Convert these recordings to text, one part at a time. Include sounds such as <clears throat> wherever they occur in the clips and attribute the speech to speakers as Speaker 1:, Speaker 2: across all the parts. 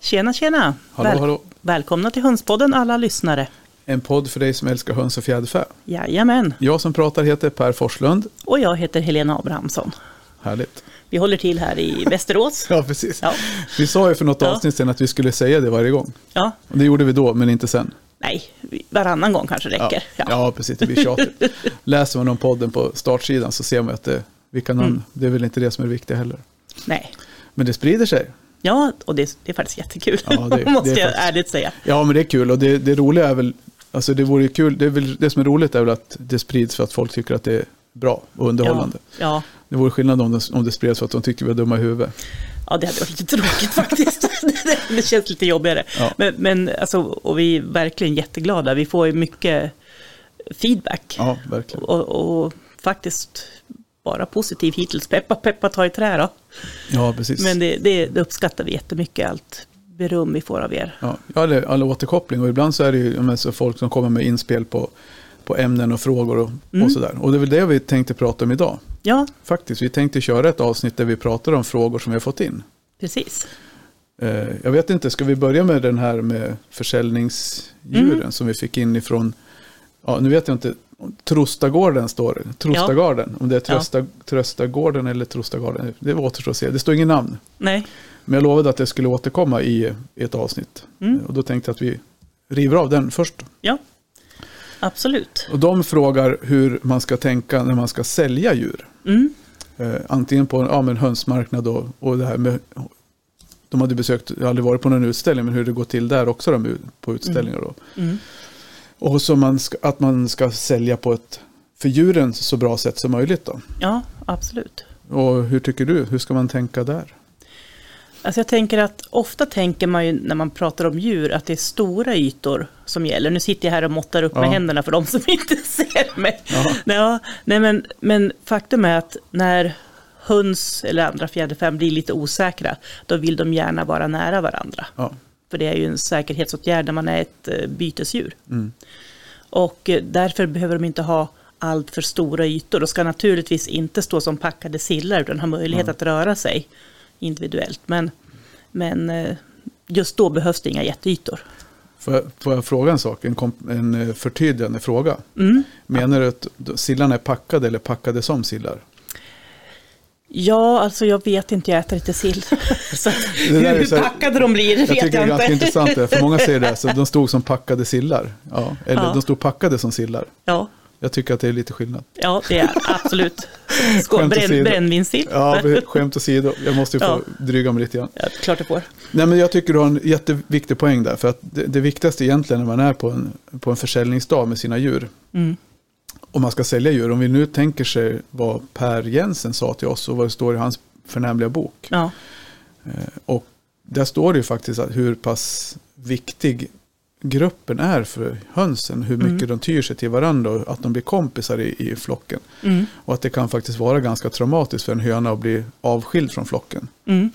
Speaker 1: Tjena, tjena!
Speaker 2: Hallå, hallå.
Speaker 1: Välkomna till Hönspodden alla lyssnare.
Speaker 2: En podd för dig som älskar höns och fjäderfä.
Speaker 1: Jajamän,
Speaker 2: Jag som pratar heter Per Forslund.
Speaker 1: och jag heter Helena Abrahamsson.
Speaker 2: Härligt.
Speaker 1: Vi håller till här
Speaker 2: <laughs>
Speaker 1: i Västerås.
Speaker 2: Ja, precis.
Speaker 1: Ja.
Speaker 2: Vi sa ju för något
Speaker 1: Ja.
Speaker 2: avsnitt sedan att vi skulle säga det varje gång.
Speaker 1: Ja,
Speaker 2: Och det gjorde vi då, men inte sen.
Speaker 1: nej, varannan gång kanske räcker.
Speaker 2: Ja, ja precis. Det blir tjatigt.
Speaker 1: <laughs>
Speaker 2: Läser man om podden på startsidan så ser man att det, vi kan,
Speaker 1: Mm.
Speaker 2: det är väl inte det som är det viktiga heller.
Speaker 1: Nej.
Speaker 2: Men det sprider sig.
Speaker 1: ja och det, det är faktiskt jättekul, <laughs>
Speaker 2: Ja, det- det är
Speaker 1: måste jag
Speaker 2: faktiskt-
Speaker 1: ärligt säga.
Speaker 2: Ja, men det är kul. Och det, det roliga är väl, alltså det vore ju kul, det, är väl, det som är roligt är väl att det sprids för att folk tycker att det är bra och underhållande.
Speaker 1: Ja, ja.
Speaker 2: Det vore skillnad om det, om det spreds för att de tyckte vi var dumma i huvudet.
Speaker 1: ja, det hade varit lite tråkigt <laughs> faktiskt. det känns lite jobbigare.
Speaker 2: Ja.
Speaker 1: Men, men alltså, och vi är verkligen jätteglada. Vi får ju mycket feedback.
Speaker 2: Ja, verkligen.
Speaker 1: Och, och faktiskt bara positiv hittills. Peppa, peppa, ta i trä då.
Speaker 2: Ja, precis.
Speaker 1: Men det, det, det uppskattar vi jättemycket, allt beröm vi får av er.
Speaker 2: Ja, ja det, alla återkoppling och ibland så är det ju ja, men så folk som kommer med inspel på, på ämnen och frågor och,
Speaker 1: Mm.
Speaker 2: och sådär. Och det är väl det vi tänkte prata om idag.
Speaker 1: Ja,
Speaker 2: Faktiskt, vi tänkte köra ett avsnitt där vi pratar om frågor som vi har fått in.
Speaker 1: precis.
Speaker 2: Eh, jag vet inte, ska vi börja med den här med försäljningsdjuren
Speaker 1: Mm.
Speaker 2: som vi fick in ifrån, ja nu vet jag inte, Trostagården står det, Trostagården, om det är Trösta, Tröstagården eller Trostagården, det återstår att se, det står inget namn.
Speaker 1: Nej,
Speaker 2: Men jag lovade att jag skulle återkomma i ett avsnitt.
Speaker 1: Mm.
Speaker 2: Och då tänkte jag att vi river av den först.
Speaker 1: ja, absolut.
Speaker 2: Och de frågar hur man ska tänka när man ska sälja djur.
Speaker 1: Mm.
Speaker 2: Eh, antingen på en ja, men hönsmarknad och, och det här med de hade besökt, jag har aldrig varit på någon utställning, men hur det går till där också då, med- på utställningar. Då.
Speaker 1: Mm.
Speaker 2: Och så man ska, att man ska sälja på ett för djuren så bra sätt som möjligt. Då.
Speaker 1: Ja, absolut.
Speaker 2: Och hur tycker du, hur ska man tänka där?
Speaker 1: Alltså jag tänker att ofta tänker man ju när man pratar om djur att det är stora ytor som gäller. Nu sitter jag här och måttar upp med
Speaker 2: Ja.
Speaker 1: händerna för de som <laughs> inte ser mig.
Speaker 2: Ja.
Speaker 1: Ja, nej men, men faktum är att när höns eller andra fjäderfän blir lite osäkra, då vill de gärna vara nära varandra.
Speaker 2: Ja,
Speaker 1: För det är ju en säkerhetsåtgärd när man är ett eh, bytesdjur.
Speaker 2: Mm.
Speaker 1: Och eh, därför behöver de inte ha allt för stora ytor och ska naturligtvis inte stå som packade sillar utan ha möjlighet att röra sig individuellt. Men, men eh, just då behövs det inga jätteytor.
Speaker 2: får, jag, får jag fråga en sak, en, kom- en eh, förtydligande fråga?
Speaker 1: Mm.
Speaker 2: Menar du att sillarna är packade eller packade som sillar?
Speaker 1: Ja, alltså jag vet inte, jag äter inte
Speaker 2: <laughs>
Speaker 1: sill. så att,
Speaker 2: där är
Speaker 1: hur
Speaker 2: så här-
Speaker 1: packade de blir
Speaker 2: Jag
Speaker 1: vet
Speaker 2: tycker det är
Speaker 1: jag
Speaker 2: ganska
Speaker 1: inte.
Speaker 2: intressant det, här, för många säger det, här, så de stod som packade sillar. Ja, eller
Speaker 1: Ja.
Speaker 2: de stod packade som sillar.
Speaker 1: <laughs> Ja,
Speaker 2: Jag tycker att det är lite skillnad.
Speaker 1: ja, det är absolut. Skål,
Speaker 2: Skämt
Speaker 1: bränn,
Speaker 2: åsido.
Speaker 1: brännvinssill.
Speaker 2: Ja, <laughs> skämt åsido, jag måste ju få dryga mig lite grann.
Speaker 1: <laughs> Ja, klart du får.
Speaker 2: Nej, men jag tycker du har en jätteviktig poäng där, för att det, det viktigaste egentligen när man är på en, på en försäljningsdag med sina djur,
Speaker 1: Mm.
Speaker 2: om man ska sälja djur, om vi nu tänker sig vad Per Jensen sa till oss och vad det står i hans förnämliga bok,
Speaker 1: Ja,
Speaker 2: Och där står det ju faktiskt att hur pass viktig gruppen är för hönsen. Hur mycket de tyr sig till varandra och att de blir kompisar i, i flocken.
Speaker 1: mm,
Speaker 2: Och att det kan faktiskt vara ganska traumatiskt för en höna att bli avskild från flocken.
Speaker 1: mm,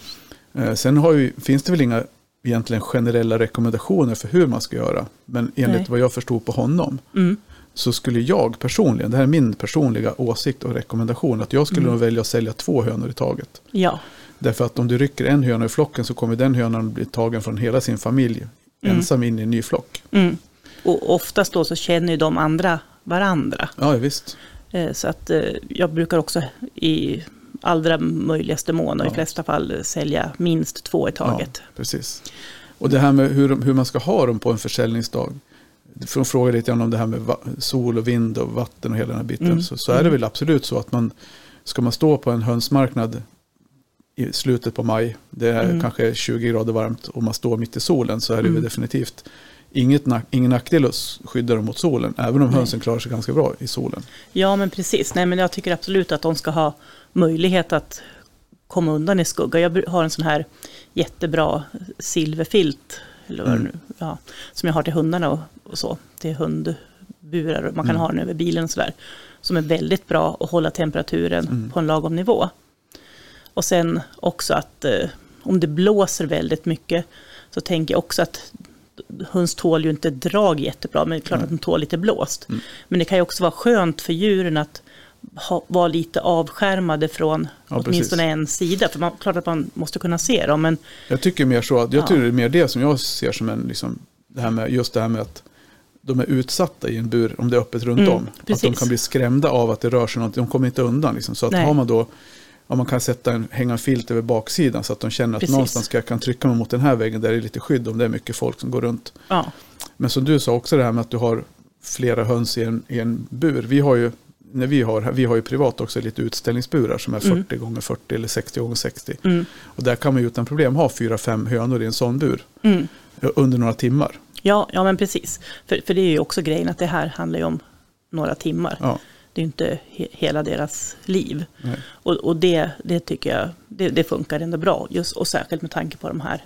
Speaker 2: Eh, sen har ju, finns det väl inga egentligen generella rekommendationer för hur man ska göra. Men enligt
Speaker 1: Nej.
Speaker 2: vad jag förstod på honom
Speaker 1: mm,
Speaker 2: så skulle jag personligen, det här är min personliga åsikt och rekommendation, att jag skulle nog välja att sälja två hönor i taget.
Speaker 1: ja.
Speaker 2: Därför att om du rycker en höna ur flocken så kommer den hönan bli tagen från hela sin familj ensam in i en ny flock.
Speaker 1: Mm. Och oftast då så känner ju de andra varandra.
Speaker 2: Ja, visst.
Speaker 1: Eh, Så att eh, jag brukar också i allra möjligaste mån och i
Speaker 2: Ja.
Speaker 1: flesta fall eh, sälja minst två i taget.
Speaker 2: Ja, precis. Och det här med hur, de- hur man ska ha dem på en försäljningsdag. För de frågar lite grann om det här med va- sol och vind och vatten och hela den här biten.
Speaker 1: Mm.
Speaker 2: Så, så är det väl absolut så att man ska man stå på en hönsmarknad i slutet på maj, det är
Speaker 1: Mm.
Speaker 2: kanske 20 grader varmt och man står mitt i solen så är det
Speaker 1: Mm.
Speaker 2: väl definitivt inget, nack- ingen nackdel att s- skydda dem mot solen, även om
Speaker 1: Nej.
Speaker 2: hönsen klarar sig ganska bra i solen.
Speaker 1: Ja, men precis. Nej, men jag tycker absolut att de ska ha möjlighet att komma undan i skugga. Jag bru- har en sån här jättebra silverfilt eller vad det
Speaker 2: Mm.
Speaker 1: nu, ja, som jag har till hundarna och, och så. Till hundburar och man kan
Speaker 2: Mm.
Speaker 1: ha den över bilen och sådär. Som är väldigt bra att hålla temperaturen
Speaker 2: Mm.
Speaker 1: på en lagom nivå. Och sen också att eh, om det blåser väldigt mycket så tänker jag också att höns tål ju inte
Speaker 2: Mm.
Speaker 1: drag jättebra, men det är klart att de tål lite blåst. Men det kan ju också vara skönt för djuren att ha, vara lite avskärmade från
Speaker 2: Ja, precis.
Speaker 1: åtminstone en sida. För man, klart att man måste kunna se dem, men
Speaker 2: Jag tycker mer så att, jag
Speaker 1: Ja.
Speaker 2: tror det är mer det som jag ser som en, liksom, det här med, just det här med att de är utsatta i en bur om det är öppet runt
Speaker 1: Mm,
Speaker 2: om. Att de
Speaker 1: precis.
Speaker 2: kan bli skrämda av att det rör sig någonting, de kommer inte undan. Liksom. Så att
Speaker 1: Nej.
Speaker 2: har man då, om man kan sätta en, hänga en filt över baksidan så att de känner att
Speaker 1: Precis.
Speaker 2: någonstans ska jag kan trycka mig mot den här väggen där det är lite skydd om det är mycket folk som går runt.
Speaker 1: ja,
Speaker 2: Men som du sa också det här med att du har flera höns i en, i en bur. Vi har ju, när vi, har, vi har ju privat också lite utställningsburar som är 40
Speaker 1: Mm.
Speaker 2: gånger 40 eller 60 gånger 60.
Speaker 1: mm,
Speaker 2: Och där kan man ju utan problem ha fyra, fem hönor i en sån bur eh,
Speaker 1: mm.
Speaker 2: under några timmar.
Speaker 1: Ja, ja, men precis. För, för det är ju också grejen att det här handlar ju om några timmar.
Speaker 2: Ja,
Speaker 1: Det är ju inte he, hela deras liv.
Speaker 2: nej.
Speaker 1: Och, och det, det tycker jag, det, det funkar ändå bra. Just, och särskilt med tanke på de här,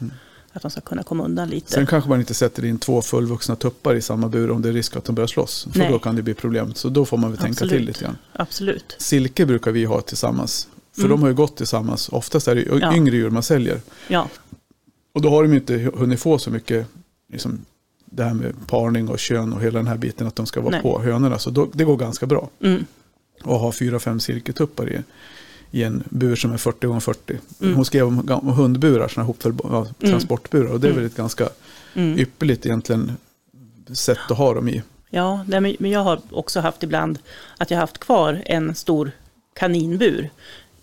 Speaker 1: att de ska kunna komma undan lite.
Speaker 2: Mm. Sen kanske man inte sätter in två fullvuxna tuppar i samma bur om det är risk att de börjar slåss. För
Speaker 1: Nej.
Speaker 2: då kan det bli problem. Så då får man väl tänka till
Speaker 1: Absolut.
Speaker 2: lite grann.
Speaker 1: Absolut.
Speaker 2: Silke brukar vi ha tillsammans. För
Speaker 1: Mm.
Speaker 2: de har ju gått tillsammans. Oftast är det ju
Speaker 1: Ja.
Speaker 2: yngre djur man säljer.
Speaker 1: Ja,
Speaker 2: Och då har de ju inte hunnit få så mycket liksom, det här med parning och kön och hela den här biten att de ska vara
Speaker 1: Nej.
Speaker 2: på hönorna. Så då, det går ganska bra
Speaker 1: mm,
Speaker 2: att ha fyra, fem silketuppar i, i en bur som är 40 gånger 40
Speaker 1: Mm.
Speaker 2: Hon skrev om, ga- om hundburar, sådana hopfäll, ja, transportburar och det är väl ett ganska
Speaker 1: mm.
Speaker 2: ypperligt egentligen sätt att ha dem i.
Speaker 1: Ja, nej, men- men jag har också haft ibland att jag haft kvar en stor kaninbur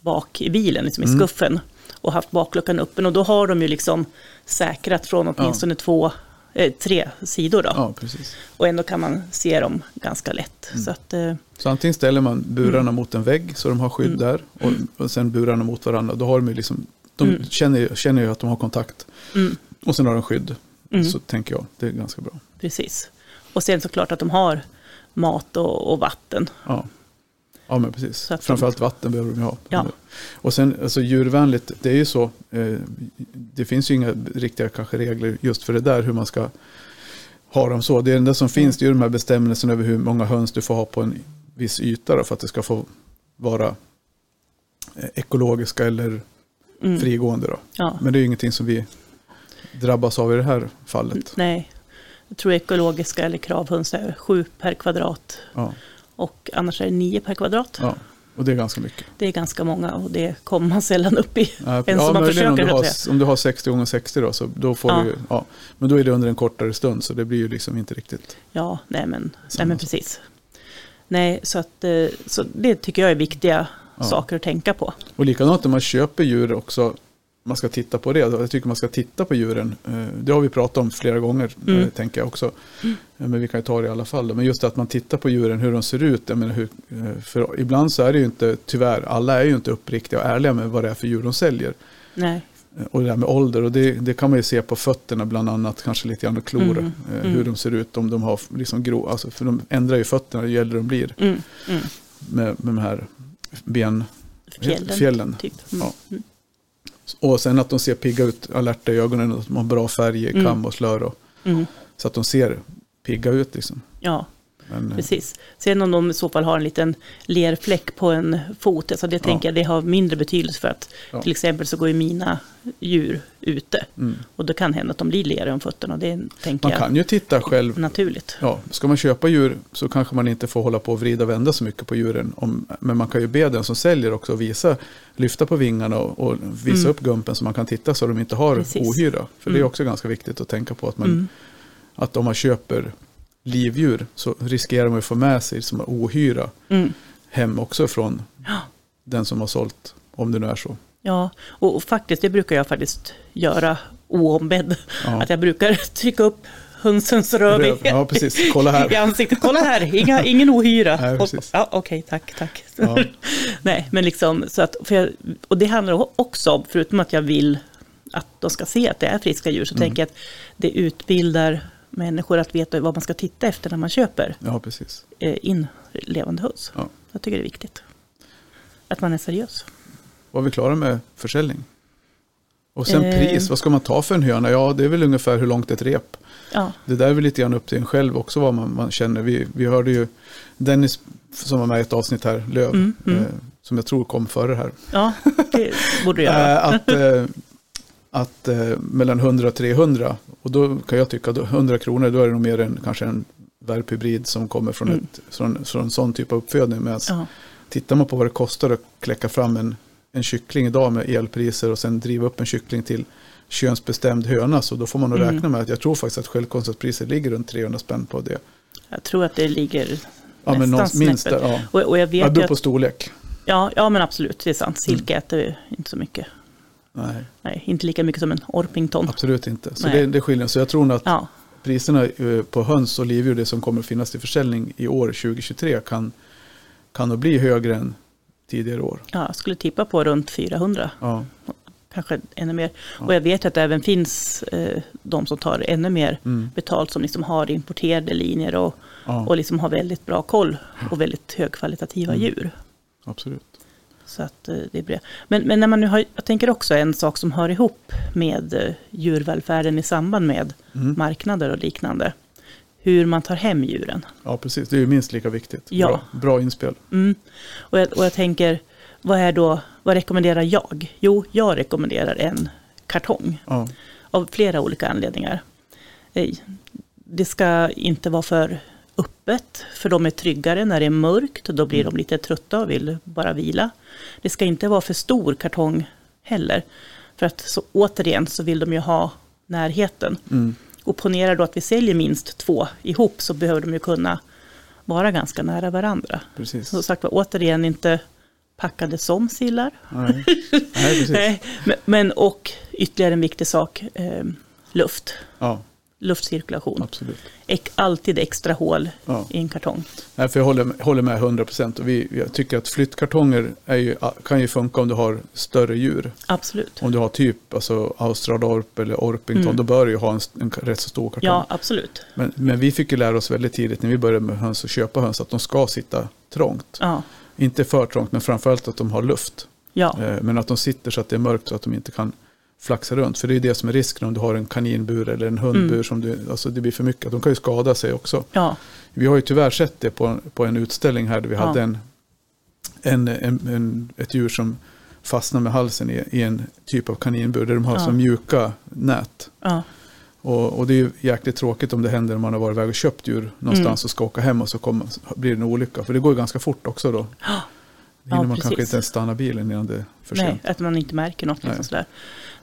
Speaker 1: bak i bilen, liksom i
Speaker 2: Mm.
Speaker 1: skuffen, och haft bakluckan öppen. Och då har de ju liksom säkrat från åtminstone två, eh, tre sidor. Då.
Speaker 2: Ja, Mm. precis.
Speaker 1: Och ändå kan man se dem ganska lätt. Så att, eh,
Speaker 2: Så antingen ställer man burarna
Speaker 1: Mm.
Speaker 2: mot en vägg så de har skydd där och, och sen burarna mot varandra. Då har de ju liksom, de känner, ju- känner ju att de har kontakt
Speaker 1: mm,
Speaker 2: och sen har de skydd.
Speaker 1: Mm.
Speaker 2: Så tänker jag, det är ganska bra.
Speaker 1: precis. Och sen såklart att de har mat och, och vatten.
Speaker 2: Ja, ja men precis.
Speaker 1: Så att de-
Speaker 2: Framförallt vatten behöver de ju ha.
Speaker 1: Ja.
Speaker 2: Och sen alltså, djurvänligt, det är ju så. Eh, det finns ju inga riktiga kanske regler just för det där hur man ska ha dem så. Det enda som
Speaker 1: Mm.
Speaker 2: finns det är ju de här bestämmelserna över hur många höns du får ha på en viss yta då, för att det ska få vara eh, ekologiska eller
Speaker 1: Mm.
Speaker 2: frigående. Då.
Speaker 1: Ja,
Speaker 2: Men det är ju ingenting som vi drabbas av i det här fallet.
Speaker 1: nej. Jag tror ekologiska eller kravhöns är sju per kvadrat
Speaker 2: Ja,
Speaker 1: och annars är det nio per kvadrat.
Speaker 2: ja. Och det är ganska mycket.
Speaker 1: Det är ganska många och det kommer man <laughs> sällan upp i.
Speaker 2: Ja,
Speaker 1: Än som man
Speaker 2: möjligen om
Speaker 1: försöker,
Speaker 2: du,
Speaker 1: så
Speaker 2: har,
Speaker 1: att
Speaker 2: om du har 60 gånger 60 då, så då får
Speaker 1: Ja.
Speaker 2: du ju, ja, men då är det under en kortare stund så det blir ju liksom inte riktigt.
Speaker 1: Ja, nej men, nej,
Speaker 2: Samma
Speaker 1: men
Speaker 2: sak.
Speaker 1: precis. Nej, så, att, eh, så det tycker jag är viktiga
Speaker 2: Ja.
Speaker 1: saker att tänka på.
Speaker 2: Och likadant när man köper djur också, man ska titta på det. Jag tycker man ska titta på djuren. Eh, Det har vi pratat om flera gånger,
Speaker 1: Mm.
Speaker 2: eh, tänker jag också. Eh, Men vi kan ju ta det i alla fall. Då. Men just att man tittar på djuren, hur de ser ut. Jag menar hur, eh, för ibland så är det ju inte, tyvärr, alla är ju inte uppriktiga och ärliga med vad det är för djur de säljer.
Speaker 1: Nej,
Speaker 2: Och det där med ålder, och det, det kan man ju se på fötterna bland annat, kanske lite grann och klor,
Speaker 1: Mm,
Speaker 2: eh,
Speaker 1: mm.
Speaker 2: hur de ser ut, om de har liksom grå, alltså, för de ändrar ju fötterna ju äldre de blir
Speaker 1: mm, mm.
Speaker 2: med, med de här ben...
Speaker 1: fjällen.
Speaker 2: fjällen.
Speaker 1: Typ. Mm.
Speaker 2: Ja. Och sen att de ser pigga ut, alerta i ögonen, och att de har bra färg i
Speaker 1: Mm.
Speaker 2: kam och slör, och,
Speaker 1: Mm.
Speaker 2: så att de ser pigga ut liksom.
Speaker 1: ja,
Speaker 2: Men, eh,
Speaker 1: precis. Sen om de i så fall har en liten lerfläck på en fot, alltså det tänker jag det har mindre betydelse för att
Speaker 2: Ja.
Speaker 1: till exempel så går ju mina djur ute
Speaker 2: Mm.
Speaker 1: och då kan det hända att de blir leriga om fötterna och det tänker
Speaker 2: Man
Speaker 1: jag
Speaker 2: kan ju titta själv
Speaker 1: naturligt.
Speaker 2: Ja, ska man köpa djur så kanske man inte får hålla på och vrida och vända så mycket på djuren. Om, men man kan ju be den som säljer också att visa, lyfta på vingarna och, och visa upp gumpen så man kan titta så de inte har
Speaker 1: Mm. Precis.
Speaker 2: ohyra. För det är
Speaker 1: Mm.
Speaker 2: också ganska viktigt att tänka på att, man,
Speaker 1: Mm.
Speaker 2: att om man köper livdjur så riskerar man att få med sig som ohyra
Speaker 1: Mm.
Speaker 2: hem också från
Speaker 1: Ja.
Speaker 2: den som har sålt, om det nu är så.
Speaker 1: Ja, och och faktiskt, det brukar jag faktiskt göra oombedd.
Speaker 2: Ja.
Speaker 1: Att jag brukar <laughs> trycka upp hönsens röv i,
Speaker 2: Ja, precis.
Speaker 1: <laughs>
Speaker 2: Kolla
Speaker 1: i
Speaker 2: här.
Speaker 1: ansiktet. Kolla här, inga, ingen ohyra.
Speaker 2: Nej,
Speaker 1: och,
Speaker 2: precis.
Speaker 1: ja, okej, tack, tack.
Speaker 2: Ja.
Speaker 1: <laughs> Nej, men liksom, så att, för jag, och det handlar också om, förutom att jag vill att de ska se att det är friska djur,
Speaker 2: Mm.
Speaker 1: så tänker jag att det utbildar människor att veta vad man ska titta efter när man köper
Speaker 2: ja, precis.
Speaker 1: eh, in levande höns.
Speaker 2: Ja.
Speaker 1: Jag tycker det är viktigt. Att man är seriös.
Speaker 2: Var vi klara med försäljning? Och sen
Speaker 1: Eh.
Speaker 2: pris, vad ska man ta för en höna? Ja, det är väl ungefär hur långt ett rep.
Speaker 1: Ja,
Speaker 2: Det där är väl lite grann upp till en själv också vad man, man känner. Vi, vi hörde ju Dennis som var med i ett avsnitt här, Löv,
Speaker 1: Mm, mm.
Speaker 2: Eh, som jag tror kom före det här.
Speaker 1: ja det borde du göra.
Speaker 2: Eh, att eh, att eh, mellan 100 och 300, och då kan jag tycka då, 100 kronor, då är det nog mer en, kanske en värphybrid som kommer från,
Speaker 1: Mm.
Speaker 2: ett, från, från en sån typ av uppfödning. Medan
Speaker 1: Ja.
Speaker 2: tittar man på vad det kostar att kläcka fram en, en kyckling idag med elpriser och sen driva upp en kyckling till könsbestämd höna så då får man nog
Speaker 1: Mm.
Speaker 2: räkna med att jag tror faktiskt att självkostnadspriset ligger runt 300 spänn på det.
Speaker 1: Jag tror att det ligger
Speaker 2: Ja, men
Speaker 1: Nästan
Speaker 2: någon, minst där,
Speaker 1: snäppet.
Speaker 2: ja.
Speaker 1: Och, och jag
Speaker 2: Ja, Det
Speaker 1: vet ju
Speaker 2: beror på Mm.
Speaker 1: att,
Speaker 2: storlek.
Speaker 1: ja, ja, men absolut, det är sant. Silke äter ju inte så mycket.
Speaker 2: Nej,
Speaker 1: Nej, inte lika mycket som en orpington.
Speaker 2: absolut inte. Så
Speaker 1: Nej.
Speaker 2: det, det skiljer. Så jag tror nog att
Speaker 1: Ja,
Speaker 2: priserna eh, på höns och livdjur, det som kommer att finnas till försäljning i år 2023, kan, kan nog bli högre än tidigare år.
Speaker 1: ja, jag skulle tippa på runt 400,
Speaker 2: Ja,
Speaker 1: kanske ännu mer. Och jag vet ju att det även finns eh, de som tar ännu mer
Speaker 2: mm,
Speaker 1: betalt som liksom har importerade linjer och,
Speaker 2: ja
Speaker 1: och liksom har väldigt bra koll och väldigt högkvalitativa
Speaker 2: Mm.
Speaker 1: djur.
Speaker 2: absolut.
Speaker 1: Så att eh, det är bra. Men, men när man nu har, jag tänker också en sak som hör ihop med eh, djurvälfärden i samband med
Speaker 2: Mm.
Speaker 1: marknader och liknande. Hur man tar hem djuren.
Speaker 2: Ja, precis. Det är ju minst lika viktigt.
Speaker 1: Ja.
Speaker 2: Bra, bra inspel.
Speaker 1: Mm. Och, jag, och jag tänker, vad, är då, vad rekommenderar jag? Jo, jag rekommenderar en kartong
Speaker 2: Ja,
Speaker 1: av flera olika anledningar. Eh, Det ska inte vara för öppet, för de är tryggare när det är mörkt och då blir de lite trötta och vill bara vila. Det ska inte vara för stor kartong heller, för att så, återigen så vill de ju ha närheten.
Speaker 2: mm,
Speaker 1: Och ponera då att vi säljer minst två ihop så behöver de ju kunna vara ganska nära varandra.
Speaker 2: precis.
Speaker 1: Som sagt var, återigen inte packade som sillar.
Speaker 2: Nej. Nej, precis.
Speaker 1: Nej, men- Men och ytterligare en viktig sak, eh, luft.
Speaker 2: Ja,
Speaker 1: Luftcirkulation.
Speaker 2: absolut.
Speaker 1: Ek, alltid extra hål
Speaker 2: Ja.
Speaker 1: i en kartong.
Speaker 2: Nej, för jag håller, håller med 100 procent. Jag tycker att flyttkartonger är ju, kan ju funka om du har större djur.
Speaker 1: Absolut.
Speaker 2: Om du har typ alltså Australorp eller Orpington,
Speaker 1: Mm.
Speaker 2: då bör du ju ha en, en rätt så stor kartong.
Speaker 1: Ja, absolut.
Speaker 2: Men, men vi fick ju lära oss väldigt tidigt när vi började med höns och köpa höns att de ska sitta trångt.
Speaker 1: Ja,
Speaker 2: Inte för trångt, men framförallt att de har luft.
Speaker 1: ja,
Speaker 2: Eh, Men att de sitter så att det är mörkt så att de inte kan flaxa runt. För det är ju det som är risken om du har en kaninbur eller en hundbur.
Speaker 1: Mm.
Speaker 2: Som du, alltså det blir för mycket. De kan ju skada sig också.
Speaker 1: ja,
Speaker 2: Vi har ju tyvärr sett det på, på en utställning här där vi
Speaker 1: Ja.
Speaker 2: hade en, en, en, en, ett djur som fastnade med halsen i, i en typ av kaninbur där de har
Speaker 1: Ja.
Speaker 2: så mjuka nät.
Speaker 1: ja,
Speaker 2: Och, och det är ju jäkligt tråkigt om det händer när man har varit iväg och köpt djur
Speaker 1: Mm.
Speaker 2: någonstans och ska åka hem och så kommer, så blir det en olycka. För det går ju ganska fort också då.
Speaker 1: Ja,
Speaker 2: Då hinner man
Speaker 1: precis.
Speaker 2: kanske inte ens stanna bilen innan det är för sent.
Speaker 1: <gasps> nej, att man inte märker något. Liksom
Speaker 2: Nej.
Speaker 1: sådär.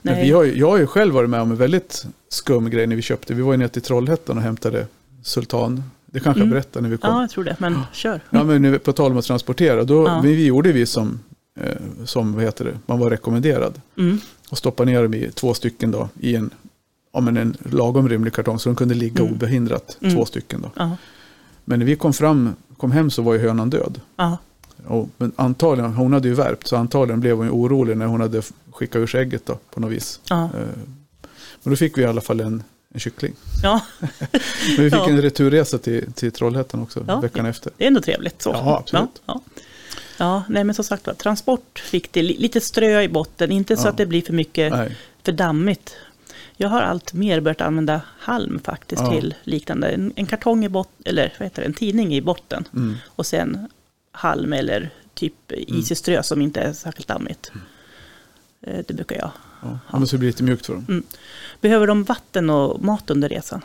Speaker 2: Men vi har ju, jag har ju själv varit med om en väldigt skum grej när vi köpte. Vi var ju nere till Trollhättan och hämtade Sultan. Det kanske
Speaker 1: Mm.
Speaker 2: jag berättade när vi kom.
Speaker 1: Ja, jag tror det,
Speaker 2: <gasps>
Speaker 1: men kör.
Speaker 2: Ja, men nu- på tal om att transportera, då
Speaker 1: Ja.
Speaker 2: vi, vi gjorde vi som, eh, som vad heter det, man var rekommenderad.
Speaker 1: Mm.
Speaker 2: Och stoppade ner dem i två stycken då, i en, ja, men en lagom rymlig kartong så de kunde ligga
Speaker 1: Mm.
Speaker 2: obehindrat,
Speaker 1: Mm.
Speaker 2: två stycken. Då.
Speaker 1: Ja,
Speaker 2: Men när vi kom, fram, kom hem så var ju hönan död.
Speaker 1: ja,
Speaker 2: Och, men antagligen, hon hade ju värpt så antagligen blev hon ju orolig när hon hade f- skickat ur sig ägget då, på något vis.
Speaker 1: ja,
Speaker 2: Eh, Men då fick vi i alla fall en, en kyckling.
Speaker 1: ja,
Speaker 2: Men vi fick
Speaker 1: Ja.
Speaker 2: en returresa till, till Trollhättan också
Speaker 1: Ja.
Speaker 2: veckan efter.
Speaker 1: det är ändå trevligt. Så.
Speaker 2: Ja, absolut.
Speaker 1: Ja, ja. ja, nej men som sagt var, transport fick det li- lite strö i botten, inte så
Speaker 2: Ja.
Speaker 1: att det blir för mycket
Speaker 2: Nej.
Speaker 1: för dammigt. Jag har allt mer börjat använda halm faktiskt
Speaker 2: Ja.
Speaker 1: till liknande. En, en kartong i botten, eller vad heter det, en tidning i botten.
Speaker 2: Mm.
Speaker 1: Och sen halm eller typ isig strö som inte är särskilt dammigt. Eh, Det brukar jag.
Speaker 2: Ja. Ja, men så det blir lite mjukt för dem.
Speaker 1: Behöver de vatten och mat under resan?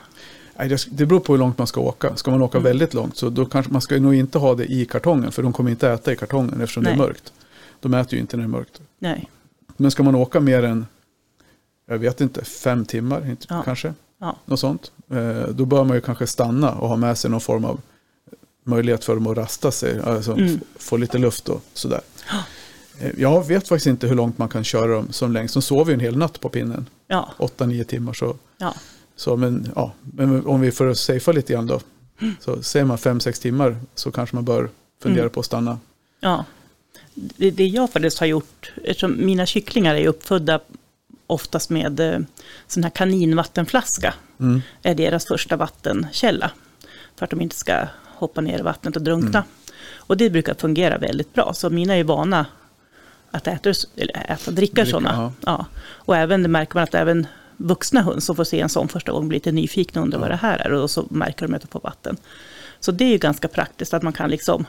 Speaker 2: Nej, det- det beror på hur långt man ska åka. Ska man åka
Speaker 1: Mm.
Speaker 2: väldigt långt så då kanske man ska nog inte ha det i kartongen för de kommer inte äta i kartongen eftersom det
Speaker 1: Nej.
Speaker 2: är mörkt. De äter ju inte när det är mörkt.
Speaker 1: Nej.
Speaker 2: Men ska man åka mer än, jag vet inte, fem timmar inte,
Speaker 1: Ja.
Speaker 2: kanske,
Speaker 1: Ja.
Speaker 2: något sånt, eh, då bör man ju kanske stanna och ha med sig någon form av möjlighet för dem att rasta sig, alltså
Speaker 1: Mm.
Speaker 2: f- få lite luft och sådär. Eh, Jag vet faktiskt inte hur långt man kan köra dem som längst. De sover ju en hel natt på pinnen,
Speaker 1: Ja.
Speaker 2: 8-9 timmar. Så
Speaker 1: ja.
Speaker 2: så, men, ja, men om vi får safea lite grann då. Så säger man fem sex timmar så kanske man bör fundera
Speaker 1: Mm.
Speaker 2: på att stanna.
Speaker 1: Ja. Det, det jag faktiskt har gjort, eftersom mina kycklingar är ju uppfödda oftast med eh, sån här kaninvattenflaska,
Speaker 2: Mm.
Speaker 1: är deras första vattenkälla. För att de inte ska hoppa ner i vattnet och drunkna.
Speaker 2: Mm.
Speaker 1: Och det brukar fungera väldigt bra, så mina är ju vana att äta, eller äta dricka
Speaker 2: Dricka,
Speaker 1: sådana.
Speaker 2: ja.
Speaker 1: Ja. Och även, det märker man att även vuxna höns som får se en sån första gången blir lite nyfikna och undrar vad det här är. Och så märker de att de får vatten. Så det är ju ganska praktiskt att man kan liksom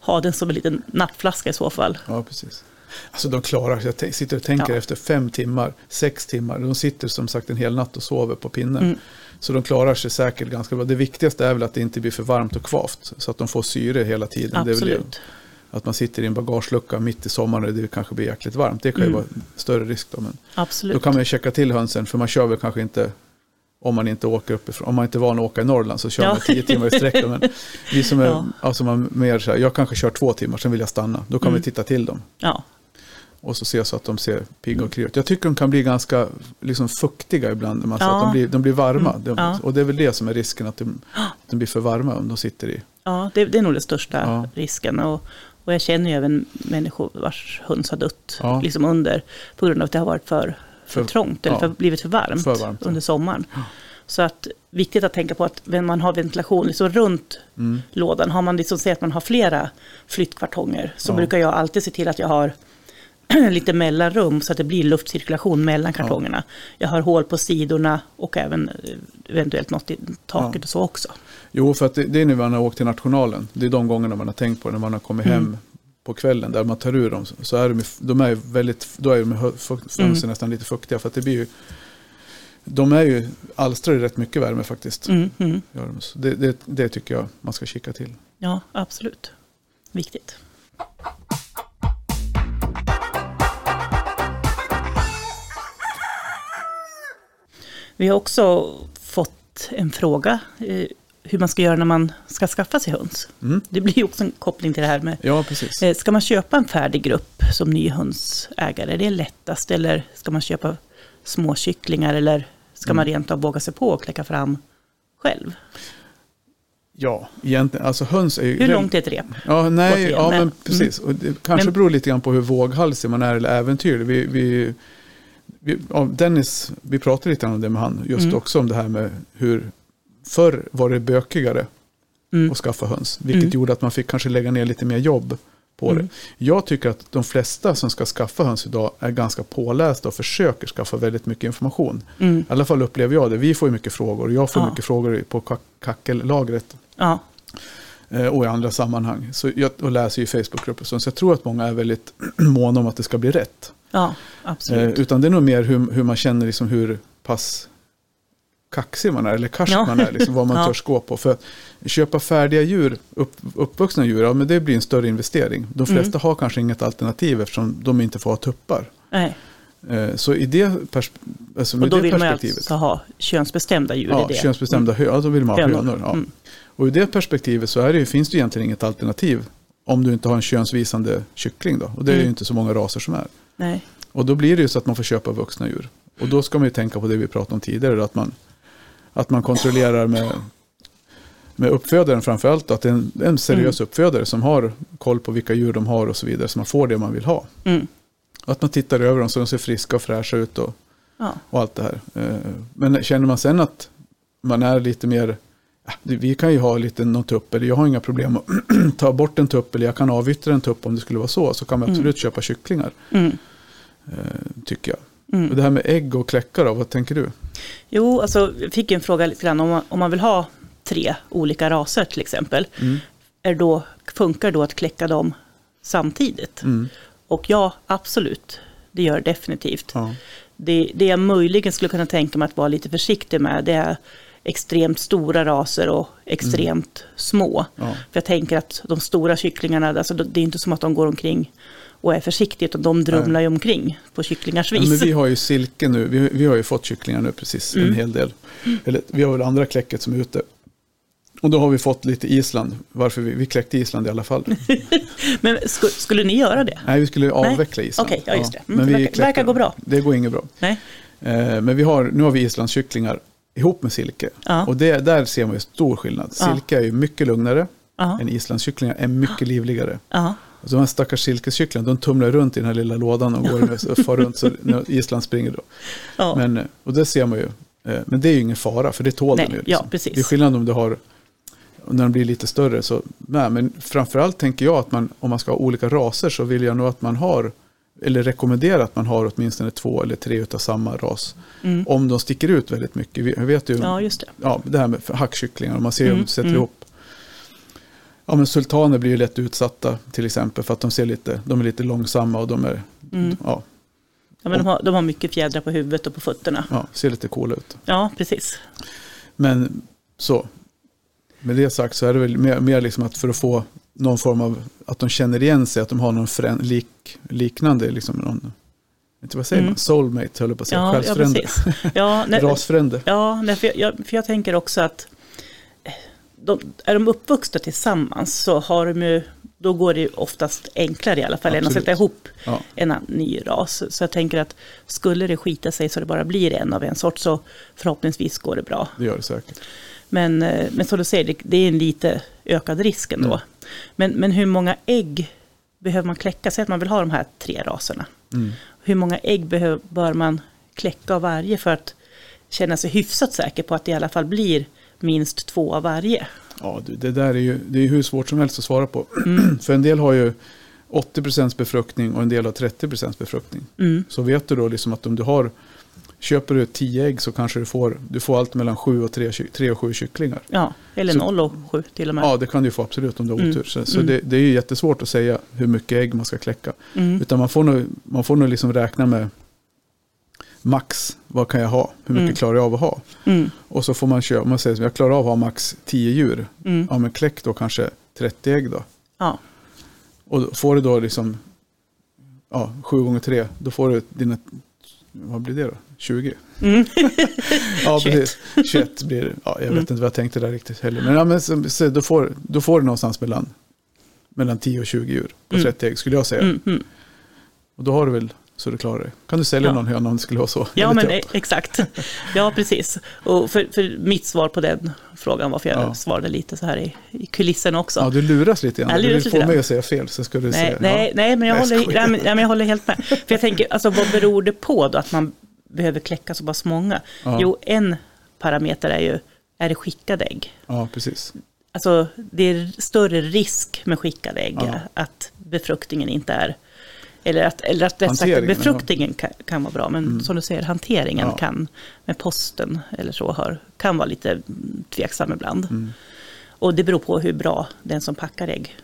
Speaker 1: ha den som en liten nappflaska i så fall.
Speaker 2: Ja, precis. Alltså de klarar sig. Jag t- sitter och tänker
Speaker 1: Ja.
Speaker 2: efter fem timmar, sex timmar. De sitter som sagt en hel natt och sover på pinnen.
Speaker 1: Mm.
Speaker 2: Så de klarar sig säkert ganska bra. Det viktigaste är väl att det inte blir för varmt och kvavt. Så att de får syre hela tiden. Det är väl det.
Speaker 1: Absolut.
Speaker 2: Att man sitter i en bagagelucka mitt i sommaren och det kanske blir jäkligt varmt. Det kan ju
Speaker 1: Mm.
Speaker 2: vara en större risk då. Men
Speaker 1: Absolut.
Speaker 2: då kan man ju checka till hönsen för man kör väl kanske inte om man inte åker uppifrån. Om man inte är van att åka i Norrland så kör
Speaker 1: Ja.
Speaker 2: man tio timmar i sträck. då, Men vi som är,
Speaker 1: Ja.
Speaker 2: alltså man mer så här, jag kanske kör två timmar, sen vill jag stanna. Då kan
Speaker 1: Mm.
Speaker 2: vi titta till dem
Speaker 1: Ja,
Speaker 2: och så se så att de ser pigga och krya ut. Jag tycker de kan bli ganska liksom, fuktiga ibland. när Man, så
Speaker 1: Ja. Mm.
Speaker 2: att de, blir, de blir varma. De,
Speaker 1: Ja.
Speaker 2: Och det är väl det som är risken, att de, de blir för varma om de sitter i.
Speaker 1: ja det, det är nog den största
Speaker 2: Ja.
Speaker 1: risken. Och, och jag känner ju även människor vars höns har dött
Speaker 2: Ja.
Speaker 1: liksom under, på grund av att det har varit för, för,
Speaker 2: För-
Speaker 1: trångt eller
Speaker 2: ja.
Speaker 1: för, blivit för varmt,
Speaker 2: För varmt, ja.
Speaker 1: under sommaren. Så att, viktigt att tänka på att när man har ventilation liksom runt
Speaker 2: Mm.
Speaker 1: lådan, har man liksom sett att man har flera flyttkartonger, så
Speaker 2: Ja.
Speaker 1: brukar jag alltid se till att jag har <clears throat> lite mellanrum så att det blir luftcirkulation mellan kartongerna. Jag har hål på sidorna och även eh, eventuellt något i taket
Speaker 2: Ja.
Speaker 1: och så också.
Speaker 2: Jo, för att det, det är när man har åkt till nationalen. Det är de gångerna man har tänkt på det, när man har kommit
Speaker 1: Mm.
Speaker 2: hem på kvällen där man tar ur dem. Så är de, ju- de är ju väldigt, då är de hö- fukt- fönstren
Speaker 1: Mm.
Speaker 2: nästan lite fuktiga. För att det blir ju, de är ju, alstrar ju rätt mycket värme faktiskt.
Speaker 1: Mm, mm.
Speaker 2: Gör de. Så det, det, det tycker jag man ska kika till.
Speaker 1: Ja, absolut. Viktigt. Vi har också fått en fråga eh, hur man ska göra när man ska skaffa sig höns.
Speaker 2: Mm.
Speaker 1: Det blir ju också en koppling till det här med,
Speaker 2: Ja, precis.
Speaker 1: eh, ska man köpa en färdig grupp som ny hönsägare? Är det lättast eller ska man köpa småkycklingar eller ska man rent av våga sig på att kläcka fram själv?
Speaker 2: Ja, egentligen. Alltså höns är ju...
Speaker 1: Hur långt är ett rep?
Speaker 2: Ja, nej,
Speaker 1: återigen,
Speaker 2: ja
Speaker 1: men-
Speaker 2: men precis. Och det kanske
Speaker 1: Men-
Speaker 2: beror lite grann på hur våghalsig man är eller äventyrlig. Vi, vi, vi, ja, Dennis, vi pratade lite grann om det med han, just
Speaker 1: Mm.
Speaker 2: också om det här med hur förr var det bökigare
Speaker 1: Mm.
Speaker 2: att skaffa höns, vilket
Speaker 1: Mm.
Speaker 2: gjorde att man fick kanske lägga ner lite mer jobb på
Speaker 1: Mm.
Speaker 2: det. Jag tycker att de flesta som ska skaffa höns idag är ganska pålästa och försöker skaffa väldigt mycket information.
Speaker 1: Mm.
Speaker 2: I alla fall upplever jag det. Vi får ju mycket frågor och jag får
Speaker 1: Ja.
Speaker 2: mycket frågor på kack- kackellagret
Speaker 1: Ja.
Speaker 2: eh, och i andra sammanhang. Så jag, och läser ju Facebookgrupper. och sånt. Så jag tror att många är väldigt <clears throat> måna om att det ska bli rätt.
Speaker 1: Ja,
Speaker 2: Eh,
Speaker 1: absolut.
Speaker 2: utan det är nog mer hur, hur man känner liksom hur pass kaxig man är eller karsk
Speaker 1: Ja.
Speaker 2: man är, liksom, vad
Speaker 1: <laughs>
Speaker 2: man
Speaker 1: Ja.
Speaker 2: törs gå på. För att köpa färdiga djur, upp, uppvuxna djur, ja, men det blir en större investering. De
Speaker 1: Mm.
Speaker 2: flesta har kanske inget alternativ eftersom de inte får ha tuppar.
Speaker 1: Nej.
Speaker 2: Eh, så i det, pers- alltså,
Speaker 1: Och
Speaker 2: med
Speaker 1: då
Speaker 2: det
Speaker 1: vill man ju
Speaker 2: perspektivet...
Speaker 1: alltså ha könsbestämda djur
Speaker 2: Ja,
Speaker 1: i det.
Speaker 2: könsbestämda hönor, då vill man ha
Speaker 1: Hönor.
Speaker 2: hönor. Ja.
Speaker 1: Mm.
Speaker 2: Och ur det perspektivet så är det ju, finns det ju egentligen inget alternativ om du inte har en könsvisande kyckling. Då. Och det är
Speaker 1: Mm.
Speaker 2: ju inte så många raser som är.
Speaker 1: Nej.
Speaker 2: Och då blir det ju så att man får köpa vuxna djur. Och då ska man ju tänka på det vi pratade om tidigare, då, att man, att man kontrollerar med, med uppfödaren framför allt, att det är en, en
Speaker 1: Mm.
Speaker 2: seriös uppfödare som har koll på vilka djur de har och så vidare, så man får det man vill ha.
Speaker 1: Mm.
Speaker 2: Och att man tittar över dem så de ser friska och fräscha ut. Och,
Speaker 1: Ja.
Speaker 2: och allt det här. Eh, Men känner man sen att man är lite mer, "Ah, det- vi kan ju ha lite någon tupp, eller jag har inga problem att <clears throat> ta bort en tupp, eller jag kan avyttra en tupp om det skulle vara så, så kan man absolut köpa kycklingar,
Speaker 1: Mm.
Speaker 2: eh, tycker jag.
Speaker 1: Mm.
Speaker 2: Och det här med ägg och kläckar, då, vad tänker du?
Speaker 1: Jo, alltså, jag fick ju en fråga lite grann om man, om man vill ha tre olika raser till exempel.
Speaker 2: Mm.
Speaker 1: Är då, funkar då att kläcka dem samtidigt?
Speaker 2: Mm.
Speaker 1: Och ja, absolut. Det gör det definitivt.
Speaker 2: Ja.
Speaker 1: Det, det jag möjligen skulle kunna tänka mig att vara lite försiktig med det är extremt stora raser och extremt små.
Speaker 2: Mm. Ja.
Speaker 1: För jag tänker att de stora kycklingarna, alltså det är inte som att de går omkring och är försiktiga, utan de drumlar ju omkring på kycklingars
Speaker 2: Ja, men
Speaker 1: vis.
Speaker 2: vi har ju silke nu, vi, vi har ju fått kycklingar nu precis,
Speaker 1: Mm.
Speaker 2: en hel del. Eller, vi har väl andra kläcket som är ute. Och då har vi fått lite Island, varför vi, vi kläckte Island i
Speaker 1: <laughs>
Speaker 2: alla fall.
Speaker 1: <laughs> Men sku- skulle ni göra det?
Speaker 2: Nej, vi skulle avveckla Island.
Speaker 1: Okej, ja, just det. Mm,
Speaker 2: Men vi
Speaker 1: det verkar-
Speaker 2: kläckte
Speaker 1: verkar gå
Speaker 2: dem.
Speaker 1: bra.
Speaker 2: Det går inget bra.
Speaker 1: Nej?
Speaker 2: Eh, Men vi har, nu har vi islandskycklingar ihop med silke.
Speaker 1: Ja.
Speaker 2: Och det, där ser man ju stor skillnad.
Speaker 1: Ja.
Speaker 2: Silke är ju mycket lugnare
Speaker 1: Ja.
Speaker 2: än islandskycklingar, är mycket livligare.
Speaker 1: Ja.
Speaker 2: Alltså de här stackars silkeskycklingarna, de tumlar runt i den här lilla lådan och går och far runt så när Island springer. Då.
Speaker 1: ja.
Speaker 2: Men, eh, och det ser man ju. Eh, Men det är ju ingen fara, för det tål
Speaker 1: Nej,
Speaker 2: den ju. liksom.
Speaker 1: ja, precis.
Speaker 2: Det är skillnad om du har, när de blir lite större. Så, nej, men framförallt tänker jag att man, om man ska ha olika raser så vill jag nog att man har, eller rekommendera att man har åtminstone två eller tre utav samma ras.
Speaker 1: Mm.
Speaker 2: Om de sticker ut väldigt mycket. Vi- Jag vet ju
Speaker 1: ja, just det.
Speaker 2: ja, det här med hackkycklingar, om man ser hur
Speaker 1: Mm,
Speaker 2: de sätter
Speaker 1: mm.
Speaker 2: ihop. Ja, men sultaner blir ju lätt utsatta till exempel för att de, ser lite, de är lite långsamma och de är,
Speaker 1: Mm.
Speaker 2: ja,
Speaker 1: Ja, men de, har, de har mycket fjädrar på huvudet och på fötterna.
Speaker 2: ja, ser lite coola ut.
Speaker 1: Ja, precis.
Speaker 2: Men så, med det sagt så är det väl mer, mer liksom att för att få någon form av att de känner igen sig, att de har någon frän, lik, liknande, liksom någon, inte vad säger
Speaker 1: Mm.
Speaker 2: man, soulmate höll jag på att säga,
Speaker 1: Ja, ja,
Speaker 2: själsfrände,
Speaker 1: precis.
Speaker 2: <laughs>
Speaker 1: Ja, nej,
Speaker 2: rasfrände.
Speaker 1: ja nej, för, jag- jag, för jag tänker också att eh, de, är de uppvuxna tillsammans så har de ju, då går det ju oftast enklare i alla fall än att
Speaker 2: Absolut.
Speaker 1: sätta ihop
Speaker 2: Ja.
Speaker 1: en annan ny ras. Så jag tänker att skulle det skita sig så det bara blir en av en sort så förhoppningsvis går det bra.
Speaker 2: Det gör det säkert.
Speaker 1: Men, eh, men som du säger, det, det är en lite ökad risk ändå.
Speaker 2: Mm.
Speaker 1: Men, men hur många ägg behöver man kläcka? Säg att man vill ha de här tre raserna.
Speaker 2: Mm.
Speaker 1: Hur många ägg behöv, bör man kläcka av varje för att känna sig hyfsat säker på att det i alla fall blir minst två av varje?
Speaker 2: Ja, du, det där är ju det är ju hur svårt som helst att svara på.
Speaker 1: Mm.
Speaker 2: <clears throat> För en del har ju 80 befruktning och en del har 30 befruktning.
Speaker 1: Mm.
Speaker 2: Så vet du då liksom att om du har, köper du 10 ägg så kanske du får, du får allt mellan 7 och 3, 3 och 7 kycklingar.
Speaker 1: Ja, eller
Speaker 2: Så-
Speaker 1: noll och sju till och med.
Speaker 2: Ja, det kan du ju få absolut om du har
Speaker 1: Mm.
Speaker 2: otur. Så, så
Speaker 1: Mm.
Speaker 2: det, det är ju jättesvårt att säga hur mycket ägg man ska kläcka.
Speaker 1: Mm.
Speaker 2: Utan man får nog, man får nog liksom räkna med max, vad kan jag ha? Hur mycket
Speaker 1: Mm.
Speaker 2: klarar jag av att ha?
Speaker 1: Mm.
Speaker 2: Och så får man köra, om man säger så, jag klarar av att ha max 10 djur.
Speaker 1: Mm.
Speaker 2: Ja, men kläck då kanske 30 ägg då.
Speaker 1: Ja.
Speaker 2: Och då får du då liksom ja, 7 gånger 3, då får du dina, vad blir det då? 20?
Speaker 1: Mm.
Speaker 2: <laughs> Ja,
Speaker 1: 21.
Speaker 2: precis. 21 blir det. Ja, jag vet
Speaker 1: Mm.
Speaker 2: inte vad jag tänkte där riktigt heller. Men, ja, men så, så, då, får, då får du någonstans mellan, mellan 10 och 20 djur på
Speaker 1: Mm.
Speaker 2: 30 ägg skulle jag säga.
Speaker 1: Mm. Mm.
Speaker 2: Och då har du väl så du klarar det. Kan du sälja
Speaker 1: Ja.
Speaker 2: någon höna om det skulle vara så?
Speaker 1: Ja,
Speaker 2: Eller typ.
Speaker 1: men
Speaker 2: tupp?
Speaker 1: e- exakt. <laughs> Ja, precis. Och för, för mitt svar på den frågan var, för jag
Speaker 2: Ja.
Speaker 1: svarade lite så här i, i kulissen också.
Speaker 2: Ja, du luras lite grann.
Speaker 1: Jag
Speaker 2: Du
Speaker 1: luras
Speaker 2: vill
Speaker 1: lite
Speaker 2: få mig
Speaker 1: grann.
Speaker 2: att säga fel så ska du
Speaker 1: nej,
Speaker 2: säga.
Speaker 1: nej,
Speaker 2: Ja.
Speaker 1: nej, men jag
Speaker 2: Nej, jag
Speaker 1: håller, nej,
Speaker 2: skojar.
Speaker 1: men, nej, men jag håller helt med. För jag tänker, alltså, vad beror det på då att man behöver kläcka så pass många?
Speaker 2: Ja.
Speaker 1: Jo, en parameter är ju, är det skickade ägg?
Speaker 2: Ja, precis.
Speaker 1: Alltså, det är större risk med skickade ägg
Speaker 2: Ja.
Speaker 1: att befruktningen inte är... Eller att, eller att rätt sagt,
Speaker 2: Hanteringen, ja. Mm.
Speaker 1: befruktningen kan, kan vara bra, men som du säger, hanteringen
Speaker 2: Ja.
Speaker 1: kan, med posten eller så, har, kan vara lite mm, tveksam ibland.
Speaker 2: Mm.
Speaker 1: Och det beror på hur bra den som packar ägg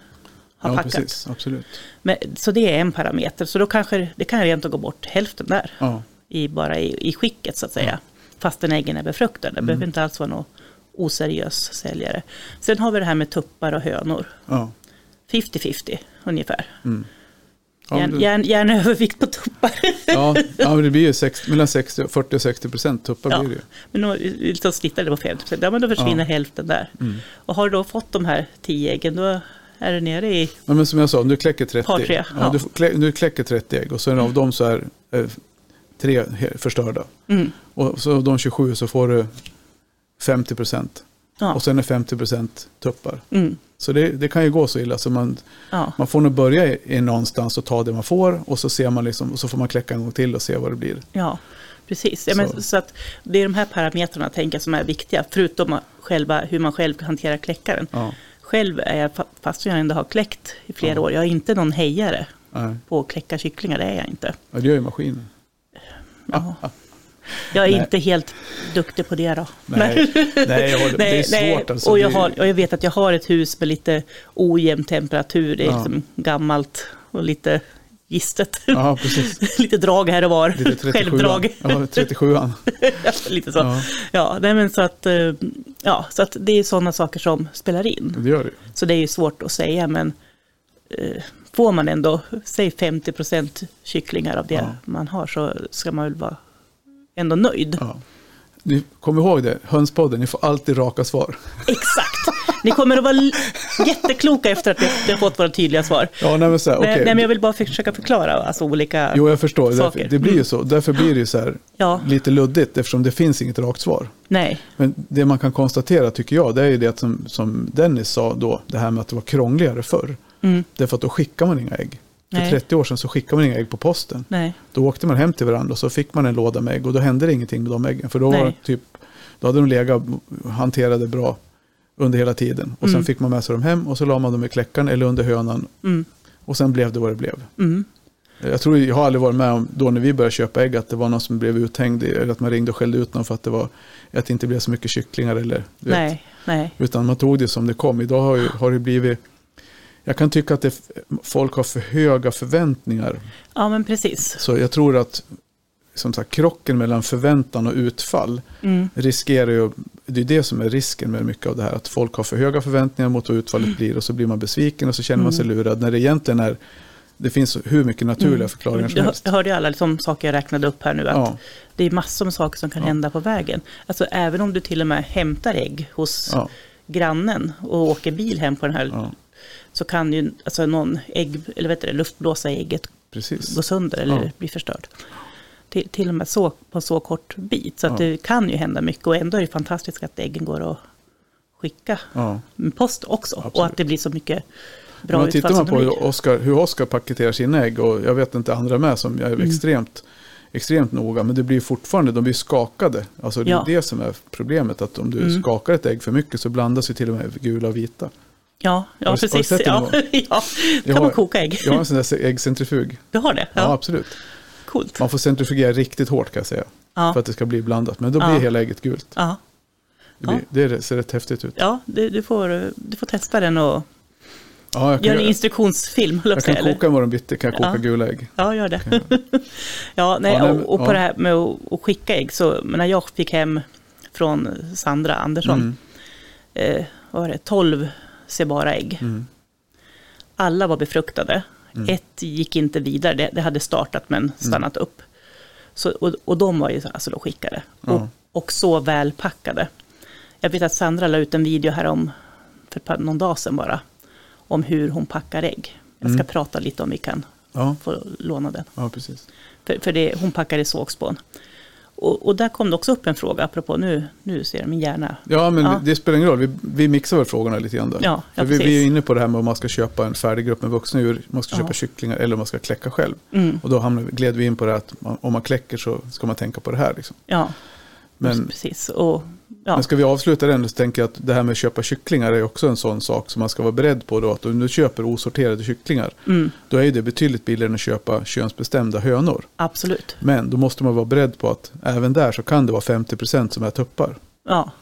Speaker 1: har
Speaker 2: Ja,
Speaker 1: packat.
Speaker 2: precis. Absolut.
Speaker 1: Men, så det är en parameter, så då kanske det kan rent av gå bort hälften där,
Speaker 2: Ja.
Speaker 1: i, bara i, i skicket så att säga. Fastän äggen är befruktade,
Speaker 2: Mm.
Speaker 1: det behöver inte alls vara någon oseriös säljare. Sen har vi det här med tuppar och hönor,
Speaker 2: Ja.
Speaker 1: 50-50 ungefär.
Speaker 2: Mm. Ja, men
Speaker 1: Järn,
Speaker 2: det-
Speaker 1: järn, järn övervikt på tuppar. <laughs>
Speaker 2: ja, ja, men det blir ju sex, mellan 60, och 40 och 60 procent
Speaker 1: <laughs>
Speaker 2: tuppar
Speaker 1: Ja,
Speaker 2: blir det ju.
Speaker 1: men då, liksom snittar det på 50 ja men då försvinner hälften där.
Speaker 2: Mm.
Speaker 1: Och har du då fått de här 10 äggen, då är du nere i,
Speaker 2: Ja, men som jag sa, om du kläcker 30,
Speaker 1: Par tre,
Speaker 2: ja,
Speaker 1: ja.
Speaker 2: Du, får klä, du kläcker 30 ägg och sen av dem så är eh, tre he- förstörda.
Speaker 1: Mm.
Speaker 2: Och så av de 27 så får du 50 procent.
Speaker 1: ja,
Speaker 2: Och sen är 50 procent tuppar.
Speaker 1: mm,
Speaker 2: Så det, det kan ju gå så illa. Så man,
Speaker 1: ja,
Speaker 2: man får nog börja i, i någonstans och ta det man får och så, ser man liksom, och så får man kläcka en gång till och se vad det blir.
Speaker 1: ja, precis. Ja, men,
Speaker 2: Så.
Speaker 1: så. att det är de här parametrarna tänker jag, som är viktiga, förutom själva, hur man själv hanterar kläckaren.
Speaker 2: Ja,
Speaker 1: Själv är jag, fa- fast jag ändå har kläckt i flera år, jag är inte någon hejare
Speaker 2: nej.
Speaker 1: på att kläcka kycklingar, det är jag inte.
Speaker 2: ja det gör ju maskinen. <laughs>
Speaker 1: Jag är
Speaker 2: Nej.
Speaker 1: inte helt duktig på det då.
Speaker 2: Nej, nej,
Speaker 1: <laughs>
Speaker 2: jag håller, det är svårt. alltså,
Speaker 1: och,
Speaker 2: Det
Speaker 1: jag
Speaker 2: är-
Speaker 1: har, och jag vet att jag har ett hus med lite ojämn temperatur, det är
Speaker 2: Ja.
Speaker 1: liksom gammalt och lite gistet.
Speaker 2: Ja,
Speaker 1: <laughs>
Speaker 2: precis.
Speaker 1: lite drag här och var,
Speaker 2: Lite
Speaker 1: <laughs>
Speaker 2: 37
Speaker 1: självdrag.
Speaker 2: Ja, 37an.
Speaker 1: <laughs> lite så. Ja.
Speaker 2: Ja,
Speaker 1: nej, men så, att, eh, ja, så att det är sådana saker som spelar in.
Speaker 2: det gör det ju.
Speaker 1: Så det är ju svårt att säga, men eh, får man ändå, säg 50% kycklingar av det
Speaker 2: Ja.
Speaker 1: man har så ska man väl vara ändå nöjd.
Speaker 2: Ja. Ni, kom ihåg det, hönspodden, ni får alltid raka svar.
Speaker 1: <laughs> Exakt! Ni kommer att vara l- jättekloka efter att ni har fått våra tydliga svar.
Speaker 2: Ja, nej men så här,
Speaker 1: Nej,
Speaker 2: okej.
Speaker 1: nej, men jag vill bara försöka förklara alltså, olika...
Speaker 2: Jo, jag förstår.
Speaker 1: Saker. Mm.
Speaker 2: Därför, det blir ju så. Därför blir det ju så här
Speaker 1: Ja,
Speaker 2: lite luddigt eftersom det finns inget rakt svar.
Speaker 1: nej.
Speaker 2: Men det man kan konstatera tycker jag, det är ju det som, som Dennis sa då, det här med att det var krångligare förr.
Speaker 1: Mm,
Speaker 2: Därför att då skickar man inga ägg. För
Speaker 1: Nej.
Speaker 2: 30 år sedan så skickade man inga ägg på posten.
Speaker 1: nej.
Speaker 2: Då åkte man hem till varandra och så fick man en låda med ägg och då hände det ingenting med de äggen. För då, var
Speaker 1: Nej.
Speaker 2: det typ, då hade de legat och hanterade bra under hela tiden. Och sen
Speaker 1: Mm.
Speaker 2: fick man med sig dem hem och så la man dem i kläckan eller under hönan.
Speaker 1: Mm,
Speaker 2: Och sen blev det vad det blev.
Speaker 1: mm,
Speaker 2: Jag tror jag har aldrig varit med om då när vi började köpa ägg att det var någon som blev uthängd i- eller att man ringde och skällde ut någon för att det, var, att det inte blev så mycket kycklingar. Eller, du vet.
Speaker 1: nej, nej.
Speaker 2: Utan man tog det som det kom. Idag har, ju, har det blivit... Jag kan tycka att det, folk har för höga förväntningar
Speaker 1: Ja, men precis.
Speaker 2: så jag tror att som sagt, krocken mellan förväntan och utfall
Speaker 1: Mm.
Speaker 2: riskerar ju, det är det som är risken med mycket av det här, att folk har för höga förväntningar mot vad utfallet blir och så blir man besviken och så känner man sig lurad när det egentligen är, det finns hur mycket naturliga
Speaker 1: Mm.
Speaker 2: förklaringar som
Speaker 1: Jag hör-
Speaker 2: helst.
Speaker 1: jag hörde ju alla liksom, saker jag räknade upp här nu. Att
Speaker 2: Ja.
Speaker 1: Det är massor med saker som kan hända på vägen. Alltså även om du till och med hämtar ägg hos
Speaker 2: Ja,
Speaker 1: grannen och åker bil hem på den här.
Speaker 2: ja,
Speaker 1: Så kan ju alltså, någon ägg, eller vet du, det, luftblåsa i ägget
Speaker 2: precis.
Speaker 1: gå sönder eller
Speaker 2: Ja.
Speaker 1: bli förstörd. Till, till och med så, på så kort bit. Så att
Speaker 2: Ja.
Speaker 1: det kan ju hända mycket och ändå är det fantastiskt att äggen går att skicka
Speaker 2: Ja.
Speaker 1: med post också.
Speaker 2: Absolut.
Speaker 1: Och att det blir så mycket bra
Speaker 2: Men tittar
Speaker 1: som
Speaker 2: man
Speaker 1: det
Speaker 2: på
Speaker 1: blir.
Speaker 2: hur Oscar, hur Oscar paketerar sina ägg och jag vet inte andra med som jag är
Speaker 1: Mm.
Speaker 2: extremt, extremt noga. Men det blir fortfarande, de blir skakade. Alltså det
Speaker 1: Ja. Mm.
Speaker 2: är det som är problemet. Att om du skakar ett ägg för mycket så blandas ju till och med gula och vita.
Speaker 1: Ja, ja
Speaker 2: Har du- har du
Speaker 1: precis.
Speaker 2: sett det
Speaker 1: ja,
Speaker 2: någon
Speaker 1: <laughs> ja.
Speaker 2: Jag
Speaker 1: Kan
Speaker 2: har-
Speaker 1: man koka ägg?
Speaker 2: Jag har en sån där äggcentrifug.
Speaker 1: Du har det? <laughs>
Speaker 2: Ja.
Speaker 1: Ja,
Speaker 2: absolut.
Speaker 1: coolt.
Speaker 2: Man får centrifugera riktigt hårt kan jag säga.
Speaker 1: Ja.
Speaker 2: För att det ska bli blandat. Men då blir
Speaker 1: Ja.
Speaker 2: hela ägget gult.
Speaker 1: Ja,
Speaker 2: Det, blir,
Speaker 1: Ja.
Speaker 2: det är- ser rätt häftigt ut.
Speaker 1: ja du, du, får, du får testa den och
Speaker 2: Ja, jag kan,
Speaker 1: göra en
Speaker 2: göra-
Speaker 1: instruktionsfilm. höll
Speaker 2: jag
Speaker 1: på att
Speaker 2: kan
Speaker 1: säga, eller?
Speaker 2: koka imorgon bitti, kan jag koka
Speaker 1: Ja.
Speaker 2: gula ägg.
Speaker 1: Ja, gör det. <laughs> ja, nej,
Speaker 2: Ja, nej, men-
Speaker 1: och, och på
Speaker 2: ja.
Speaker 1: det här med att, att skicka ägg, så men när jag fick hem från Sandra Andersson,
Speaker 2: Mm.
Speaker 1: eh, vad var det, 12 sebara ägg.
Speaker 2: Mm.
Speaker 1: Alla var befruktade. Ett gick inte vidare, det, det hade startat
Speaker 2: Mm.
Speaker 1: men stannat upp. Så, och, och de var ju alltså då skickade. Och,
Speaker 2: Ja.
Speaker 1: och så välpackade. Jag vet att Sandra la ut en video här om, för ett par- någon dag sedan bara, om hur hon packar ägg. Jag
Speaker 2: Mm.
Speaker 1: ska prata lite om vi kan
Speaker 2: Ja,
Speaker 1: får låna den.
Speaker 2: ja precis.
Speaker 1: För, för det, hon packade sågspån. Och, och där kom det också upp en fråga, apropå nu, nu ser jag min hjärna.
Speaker 2: Ja, men
Speaker 1: Ja.
Speaker 2: det spelar ingen roll. Vi, vi mixar väl frågorna lite grann där.
Speaker 1: Ja, ja,
Speaker 2: För vi, vi är
Speaker 1: precis.
Speaker 2: ju inne på det här med om man ska köpa en färdig grupp med vuxna djur, man ska
Speaker 1: Ja. Mm.
Speaker 2: köpa kycklingar eller om man ska kläcka själv. Och då hamnar, vi- gled vi in på det här att man, om man kläcker så ska man tänka på det här. Liksom.
Speaker 1: Ja,
Speaker 2: Men,
Speaker 1: precis. Och, ja,
Speaker 2: men ska vi avsluta den så tänker jag att det här med att köpa kycklingar är också en sån sak som man ska vara beredd på. Då, att om du köper osorterade kycklingar,
Speaker 1: Mm.
Speaker 2: då är ju det betydligt billigare än att köpa könsbestämda hönor.
Speaker 1: absolut.
Speaker 2: Men då måste man vara beredd på att även där så kan det vara 50% som är tuppar.
Speaker 1: Ja.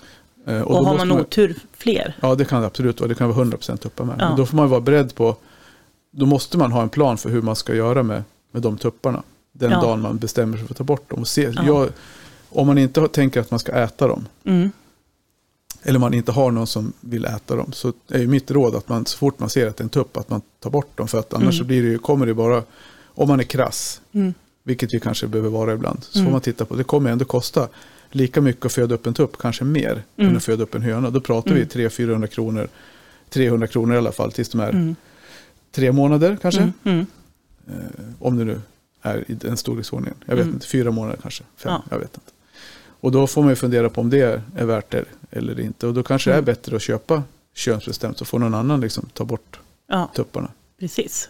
Speaker 2: Eh,
Speaker 1: Och,
Speaker 2: då
Speaker 1: har
Speaker 2: måste
Speaker 1: man otur fler,
Speaker 2: Ja, det kan det absolut vara. Det kan vara 100% tuppar med.
Speaker 1: Ja.
Speaker 2: Men då får man vara beredd på, då måste man ha en plan för hur man ska göra med, med de tupparna. Den
Speaker 1: Ja.
Speaker 2: dagen man bestämmer sig för att ta bort dem. Och se,
Speaker 1: Ja.
Speaker 2: jag, om man inte har, tänker att man ska äta dem,
Speaker 1: mm.
Speaker 2: eller man inte har någon som vill äta dem, så är ju mitt råd att man så fort man ser att det är en tupp, att man tar bort dem. För att annars
Speaker 1: Mm.
Speaker 2: så blir det ju, kommer det bara, om man är krass,
Speaker 1: Mm.
Speaker 2: vilket vi kanske behöver vara ibland, så
Speaker 1: Mm.
Speaker 2: får man titta på, det kommer ändå kosta lika mycket att föda upp en tupp, kanske mer, än
Speaker 1: Mm.
Speaker 2: att föda upp en höna. Då pratar
Speaker 1: Mm.
Speaker 2: vi 300-400 kronor, 300 kronor i alla fall, tills de är
Speaker 1: Mm.
Speaker 2: tre månader kanske,
Speaker 1: Mm. Mm.
Speaker 2: om det nu är i den storleksordningen. Jag vet
Speaker 1: Mm.
Speaker 2: inte, fyra månader kanske, fem,
Speaker 1: Ja.
Speaker 2: jag vet inte. Och då får man ju fundera på om det är värt det eller inte. Och då kanske
Speaker 1: Mm.
Speaker 2: det är bättre att köpa könsbestämt och få någon annan liksom ta bort
Speaker 1: ja,
Speaker 2: tupparna.
Speaker 1: precis.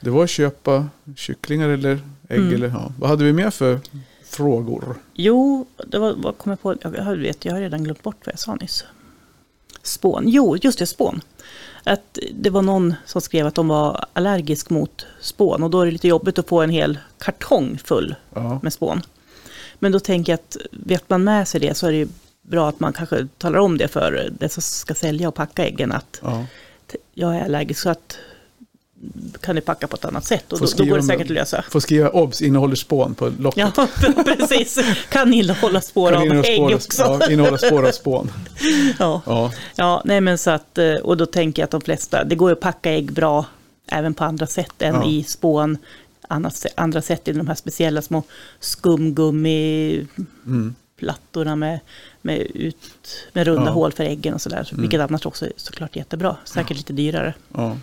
Speaker 2: Det var att köpa kycklingar eller ägg
Speaker 1: Mm.
Speaker 2: eller ja. Vad hade vi mer för frågor?
Speaker 1: Jo, det var, vad kom jag på? Jag, jag vet, jag har redan glömt bort vad jag sa nyss. Spån. Jo, just det, spån. Att det var någon som skrev att de var allergisk mot spån och då är det lite jobbigt att få en hel kartong full
Speaker 2: Ja,
Speaker 1: med spån. Men då tänker jag att vet man med sig det så är det ju bra att man kanske talar om det för den som ska sälja och packa äggen att
Speaker 2: ja.
Speaker 1: t- jag är allergisk så att kan ni packa på ett annat sätt och
Speaker 2: Får
Speaker 1: då, då
Speaker 2: skriva
Speaker 1: går det
Speaker 2: om
Speaker 1: säkert att
Speaker 2: det.
Speaker 1: lösa.
Speaker 2: Får skriva obs, innehåller spån på locket.
Speaker 1: Ja, <laughs> precis. Kan innehålla spår
Speaker 2: Kan
Speaker 1: av
Speaker 2: innehålla
Speaker 1: ägg
Speaker 2: spår, av-
Speaker 1: också.
Speaker 2: ja, innehålla spår av spån.
Speaker 1: Ja.
Speaker 2: Ja,
Speaker 1: Ja, nej men så att, eh, och då tänker jag att de flesta, det går ju att packa ägg bra även på andra sätt än
Speaker 2: Ja.
Speaker 1: i spån, andra, andra sätt i de här speciella små skumgummi-plattorna med, med, ut, med runda
Speaker 2: Mm. Ja. Mm.
Speaker 1: hål för äggen och sådär, vilket annars också är såklart jättebra, säkert lite dyrare.
Speaker 2: ja.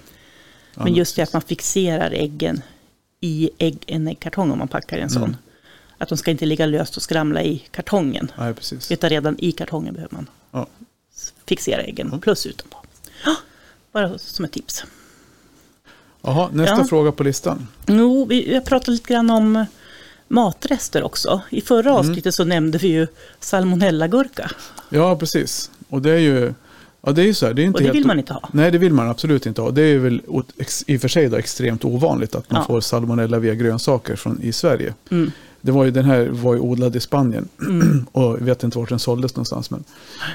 Speaker 1: Men just det att man fixerar äggen i ägg, en äggkartong om man packar i
Speaker 2: Mm.
Speaker 1: en sån. Att de ska inte ligga löst och skramla i kartongen,
Speaker 2: Nej, precis.
Speaker 1: utan redan i kartongen behöver man
Speaker 2: Ja.
Speaker 1: fixera äggen plus utanpå. Ja, Bara som ett tips.
Speaker 2: Jaha, nästa
Speaker 1: Ja.
Speaker 2: fråga på listan.
Speaker 1: Jo, vi, jag pratade lite grann om eh, matrester också. I förra avsnittet så nämnde vi ju salmonellagurka.
Speaker 2: Ja, precis. Och det är ju... Ja, det är ju så här, det är inte
Speaker 1: Och det
Speaker 2: helt,
Speaker 1: vill man inte ha.
Speaker 2: Nej, det vill man absolut inte ha. Det är väl ot- ex- i och för sig då extremt ovanligt att man
Speaker 1: Ja. Mm.
Speaker 2: får salmonella via grönsaker från, i Sverige. Det var ju, den här var ju odlad i Spanien <clears throat> och jag vet inte vart den såldes någonstans. Men,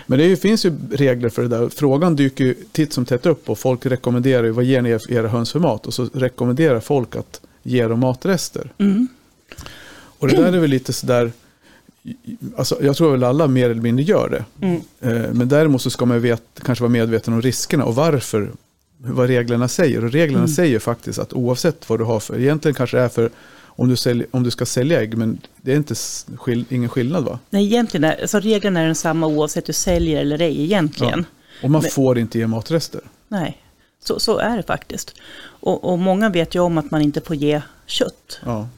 Speaker 2: men det är ju, finns ju regler för det där. Frågan dyker ju titt som tätt upp och folk rekommenderar ju vad ger ni er- era höns för mat? Och så rekommenderar folk att ge dem matrester.
Speaker 1: Mm.
Speaker 2: Och det där är väl lite sådär, alltså, jag tror väl alla mer eller mindre gör det.
Speaker 1: Mm.
Speaker 2: Eh, Men däremot så ska man ju vet, kanske vara medveten om riskerna och varför, vad reglerna säger. Och reglerna
Speaker 1: Mm.
Speaker 2: säger faktiskt att oavsett vad du har för, egentligen kanske det är för om du, sälj, om du ska sälja ägg, men det är inte s- skill, ingen skillnad va?
Speaker 1: Nej, egentligen är, alltså reglerna är densamma oavsett du säljer eller ej egentligen.
Speaker 2: Och man
Speaker 1: Men-
Speaker 2: får inte ge matrester.
Speaker 1: Nej, så, så är det faktiskt. Och, och många vet ju om att man inte får ge kött.
Speaker 2: Ja.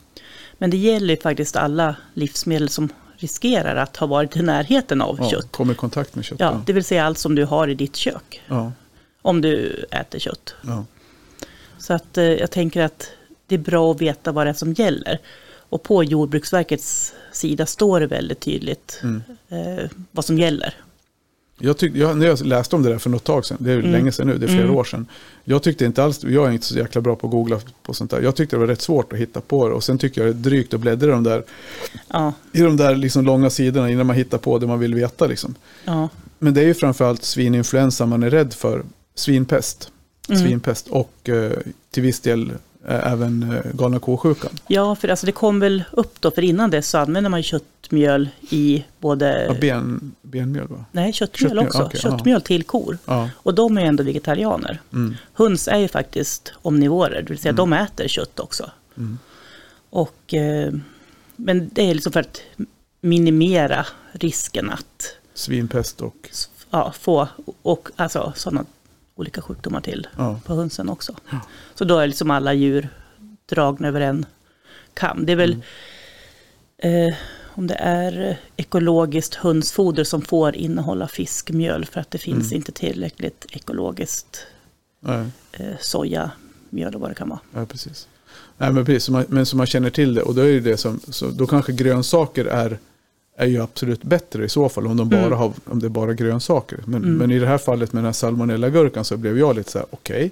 Speaker 1: Men det gäller ju faktiskt alla livsmedel som riskerar att ha varit i närheten av
Speaker 2: Ja,
Speaker 1: kött.
Speaker 2: kom i kontakt med kött.
Speaker 1: Ja, det vill säga allt som du har i ditt kök.
Speaker 2: ja,
Speaker 1: Om du äter kött.
Speaker 2: ja.
Speaker 1: Så att eh, jag tänker att det är bra att veta vad det är som gäller. Och på Jordbruksverkets sida står det väldigt tydligt
Speaker 2: Mm.
Speaker 1: eh, vad som gäller.
Speaker 2: Jag tyck, jag, när jag läste om det där för något tag sedan, det är ju länge sedan nu, det är flera år sedan. Jag tyckte inte alls, jag är inte så jäkla bra på att googla på sånt där. Jag tyckte det var rätt svårt att hitta på det och sen tycker jag det är drygt att bläddra i de där,
Speaker 1: Ja,
Speaker 2: i de där liksom långa sidorna innan man hittar på det man vill veta. Liksom.
Speaker 1: ja,
Speaker 2: Men det är ju framförallt svininfluensa man är rädd för, svinpest, svinpest och eh, till viss del eh, även eh, galna ko-sjukan.
Speaker 1: ja för alltså det kom väl upp då, för innan dess så använde man ju köttmjöl i både...
Speaker 2: Ja, ben, benmjöl va?
Speaker 1: nej, köttmjöl,
Speaker 2: köttmjöl,
Speaker 1: också.
Speaker 2: okej, ja.
Speaker 1: köttmjöl till kor.
Speaker 2: Ja,
Speaker 1: Och de är ju ändå vegetarianer.
Speaker 2: Mm.
Speaker 1: Höns är ju faktiskt omnivorer, det vill säga de äter kött också.
Speaker 2: Mm.
Speaker 1: Och, eh, men det är liksom för att minimera risken att
Speaker 2: svinpest och
Speaker 1: s- ja, få och, alltså, sådana olika sjukdomar till
Speaker 2: ja,
Speaker 1: på hönsen också. Så då är liksom alla djur dragna över en kam. Det är väl eh, om det är ekologiskt hönsfoder som får innehålla fiskmjöl för att det finns
Speaker 2: Mm.
Speaker 1: inte tillräckligt ekologiskt
Speaker 2: nej.
Speaker 1: eh, sojamjöl och vad det kan vara.
Speaker 2: Ja, precis. Nej, men precis. Så man, men så man känner till det. Och då är det ju det som, så då kanske grönsaker är, är ju absolut bättre i så fall. Om, de
Speaker 1: Mm.
Speaker 2: bara har, om det är bara grönsaker. Men, men i det här fallet med den här salmonellagurkan så blev jag lite så här, okej.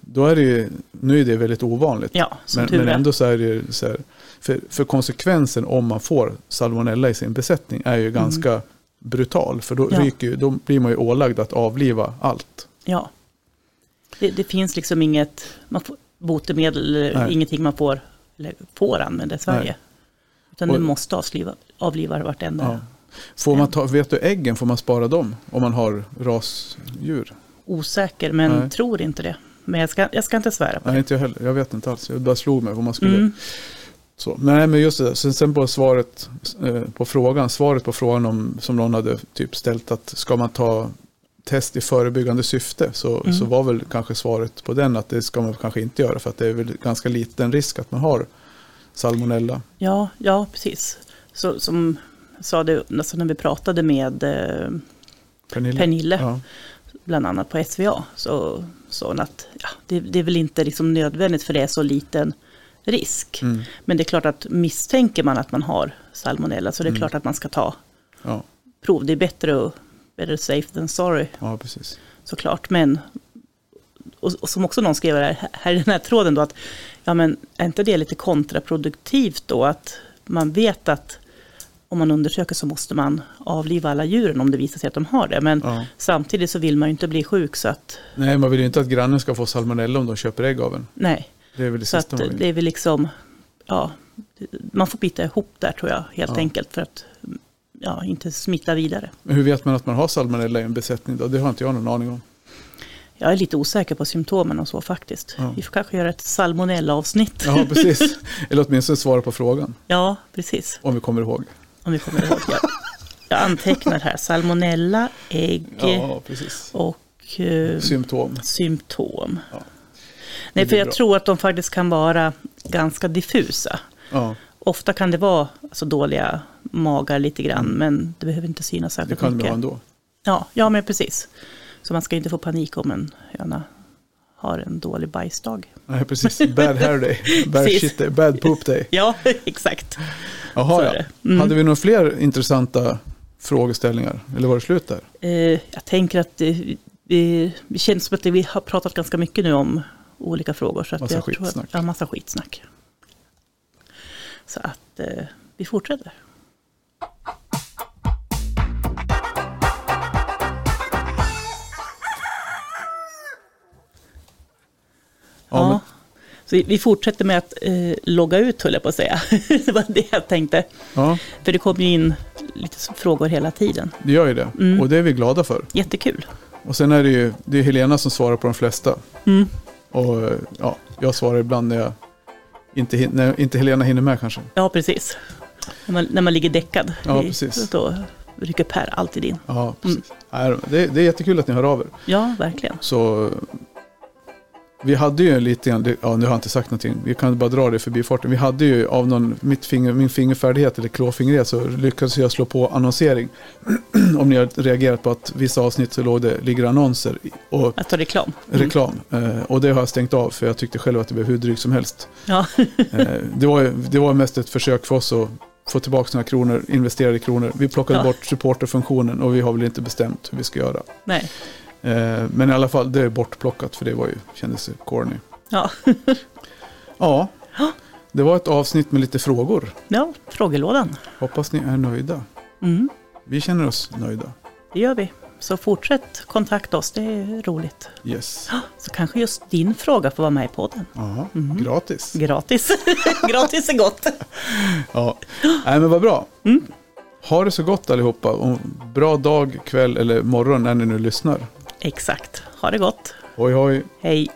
Speaker 2: Då är det ju, nu är det väldigt ovanligt.
Speaker 1: Mm, Ja, som
Speaker 2: men,
Speaker 1: tur
Speaker 2: men
Speaker 1: är.
Speaker 2: ändå så är det ju så här, för, för konsekvensen om man får salmonella i sin besättning är ju ganska brutal. För då,
Speaker 1: Mm. Ja.
Speaker 2: ryker, ju- då blir man ju ålagd att avliva allt.
Speaker 1: Ja. Det, det finns liksom inget man får, botemedel eller
Speaker 2: Nej.
Speaker 1: ingenting man får, eller får använda i Sverige.
Speaker 2: Nej.
Speaker 1: Utan
Speaker 2: Och-
Speaker 1: du måste avsliva, avliva vartenda.
Speaker 2: Ja. Får man ta, vet du äggen, får man spara dem om man har rasdjur?
Speaker 1: Osäker, men
Speaker 2: Nej.
Speaker 1: tror inte det. Men jag ska, jag ska inte svära på det.
Speaker 2: Nej, inte jag heller. Jag vet inte alls. Jag bara slog mig vad man skulle...
Speaker 1: Mm.
Speaker 2: Så. Nej, men just det. där. Sen, sen på svaret eh, på frågan, svaret på frågan om, som någon hade typ ställt att ska man ta test i förebyggande syfte så, så var väl kanske svaret på den att det ska man kanske inte göra för att det är väl ganska liten risk att man har salmonella.
Speaker 1: Ja, ja precis. Så, som jag sa det alltså när vi pratade med eh,
Speaker 2: Pernilla.
Speaker 1: Pernille,
Speaker 2: Ja.
Speaker 1: bland annat på SVA, så sa hon att ja, det, det är väl inte liksom nödvändigt för det är så liten risk.
Speaker 2: Mm.
Speaker 1: Men det är klart att misstänker man att man har salmonella så det är klart att man ska ta
Speaker 2: Ja.
Speaker 1: prov. Det är bättre att better safe than sorry
Speaker 2: ja, precis.
Speaker 1: såklart. Men, och, och som också någon skrev här, här i den här tråden då, att ja, men är inte det lite kontraproduktivt då att man vet att om man undersöker så måste man avliva alla djuren om det visar sig att de har det. Men
Speaker 2: Ja.
Speaker 1: samtidigt så vill man ju inte bli sjuk så att
Speaker 2: Nej, man vill ju inte att grannen ska få salmonella om de köper ägg av en.
Speaker 1: nej.
Speaker 2: Det är väl det
Speaker 1: Så att
Speaker 2: sista man vill.
Speaker 1: det är väl liksom, ja, man får bita ihop där tror jag helt
Speaker 2: Ja.
Speaker 1: enkelt för att ja, inte smitta vidare.
Speaker 2: Men Hur vet man att man har salmonella i en besättning då? Det har inte jag någon aning om.
Speaker 1: Jag är lite osäker på symptomen och så faktiskt.
Speaker 2: Ja.
Speaker 1: Vi får kanske göra ett salmonella-avsnitt. <laughs>
Speaker 2: Ja, precis. Eller åtminstone svara på frågan,
Speaker 1: Ja, precis.
Speaker 2: om vi kommer ihåg.
Speaker 1: Om vi kommer ihåg. Jag, jag antecknar här. Salmonella, ägg
Speaker 2: Ja, precis.
Speaker 1: och eh,
Speaker 2: Symptom.
Speaker 1: symptom.
Speaker 2: Ja.
Speaker 1: Nej,
Speaker 2: blir
Speaker 1: för jag
Speaker 2: bra.
Speaker 1: tror att de faktiskt kan vara ganska diffusa.
Speaker 2: Ja,
Speaker 1: Ofta kan det vara alltså, dåliga magar lite grann, men det behöver inte synas
Speaker 2: Mm. det
Speaker 1: särskilt
Speaker 2: kan vi
Speaker 1: mycket.
Speaker 2: ha ändå.
Speaker 1: Ja, ja, men precis. Så man ska inte få panik om en höna har en dålig bajsdag. <laughs>
Speaker 2: Nej, precis. Bad hair day. Bad,
Speaker 1: Precis.
Speaker 2: shit day. Bad poop day.
Speaker 1: Ja, <laughs> exakt. Så
Speaker 2: Jaha,
Speaker 1: är
Speaker 2: ja.
Speaker 1: det. Mm.
Speaker 2: Hade vi några fler intressanta frågeställningar? Eller var det slut där?
Speaker 1: Eh, jag tänker att eh, vi, det känns som att vi har pratat ganska mycket nu om olika frågor. Så att
Speaker 2: Massa
Speaker 1: jag tror att,
Speaker 2: skitsnack.
Speaker 1: ja, massa skitsnack. Så att eh, vi fortsätter.
Speaker 2: Ja, men,
Speaker 1: Ja. Så vi- vi fortsätter med att eh, logga ut, höll jag på att säga. <laughs> det var det jag tänkte.
Speaker 2: ja,
Speaker 1: För det kommer ju in lite så- frågor hela tiden.
Speaker 2: det gör ju det.
Speaker 1: Mm.
Speaker 2: Och det är vi glada för.
Speaker 1: Jättekul.
Speaker 2: Och sen är det ju det är Helena som svarar på de flesta.
Speaker 1: Mm.
Speaker 2: Och eh, ja, jag svarar ibland när jag inte, hin- när inte Helena hinner med kanske.
Speaker 1: Ja, precis. När man, när man ligger däckad.
Speaker 2: Ja,
Speaker 1: i-
Speaker 2: precis.
Speaker 1: Då rycker Per alltid in.
Speaker 2: Ja, precis. Nej, det, det är jättekul att ni hör av er.
Speaker 1: Ja, verkligen.
Speaker 2: Så eh, vi hade ju lite grann, det- ja nu har jag inte sagt någonting, vi kan bara dra det förbi farten. Vi hade ju av någon, mitt finger, min fingerfärdighet eller klåfingrighet så lyckades jag slå på annonsering. <clears throat> Om ni har reagerat på att vissa avsnitt så låg det, ligger annonser i- och
Speaker 1: Att ta reklam. Mm.
Speaker 2: reklam. Eh, och det har jag stängt av för jag tyckte själv att det blev hur drygt som helst.
Speaker 1: Ja,
Speaker 2: Eh, det, var ju, det var mest ett försök för oss att få tillbaka några kronor, investerade kronor. Vi plockade
Speaker 1: Ja.
Speaker 2: bort supporterfunktionen och vi har väl inte bestämt hur vi ska göra.
Speaker 1: nej.
Speaker 2: Eh, Men i alla fall, det är bortplockat för det var ju, kändes ju corny.
Speaker 1: Ja.
Speaker 2: <laughs> Ja,
Speaker 1: Ja.
Speaker 2: det var ett avsnitt med lite frågor.
Speaker 1: ja, frågelådan.
Speaker 2: Hoppas ni är nöjda.
Speaker 1: Mm.
Speaker 2: Vi känner oss nöjda.
Speaker 1: Det gör vi. Så fortsätt kontakta oss, det är roligt.
Speaker 2: Yes.
Speaker 1: Så kanske just din fråga får vara med i podden.
Speaker 2: Ja,
Speaker 1: Mm.
Speaker 2: gratis.
Speaker 1: Gratis. <laughs> Gratis är gott.
Speaker 2: Ja. Nej, men vad bra. Ha det så gott allihopa. Och bra dag, kväll eller morgon när ni nu lyssnar.
Speaker 1: Exakt. Ha det gott.
Speaker 2: Oj, oj.
Speaker 1: Hej.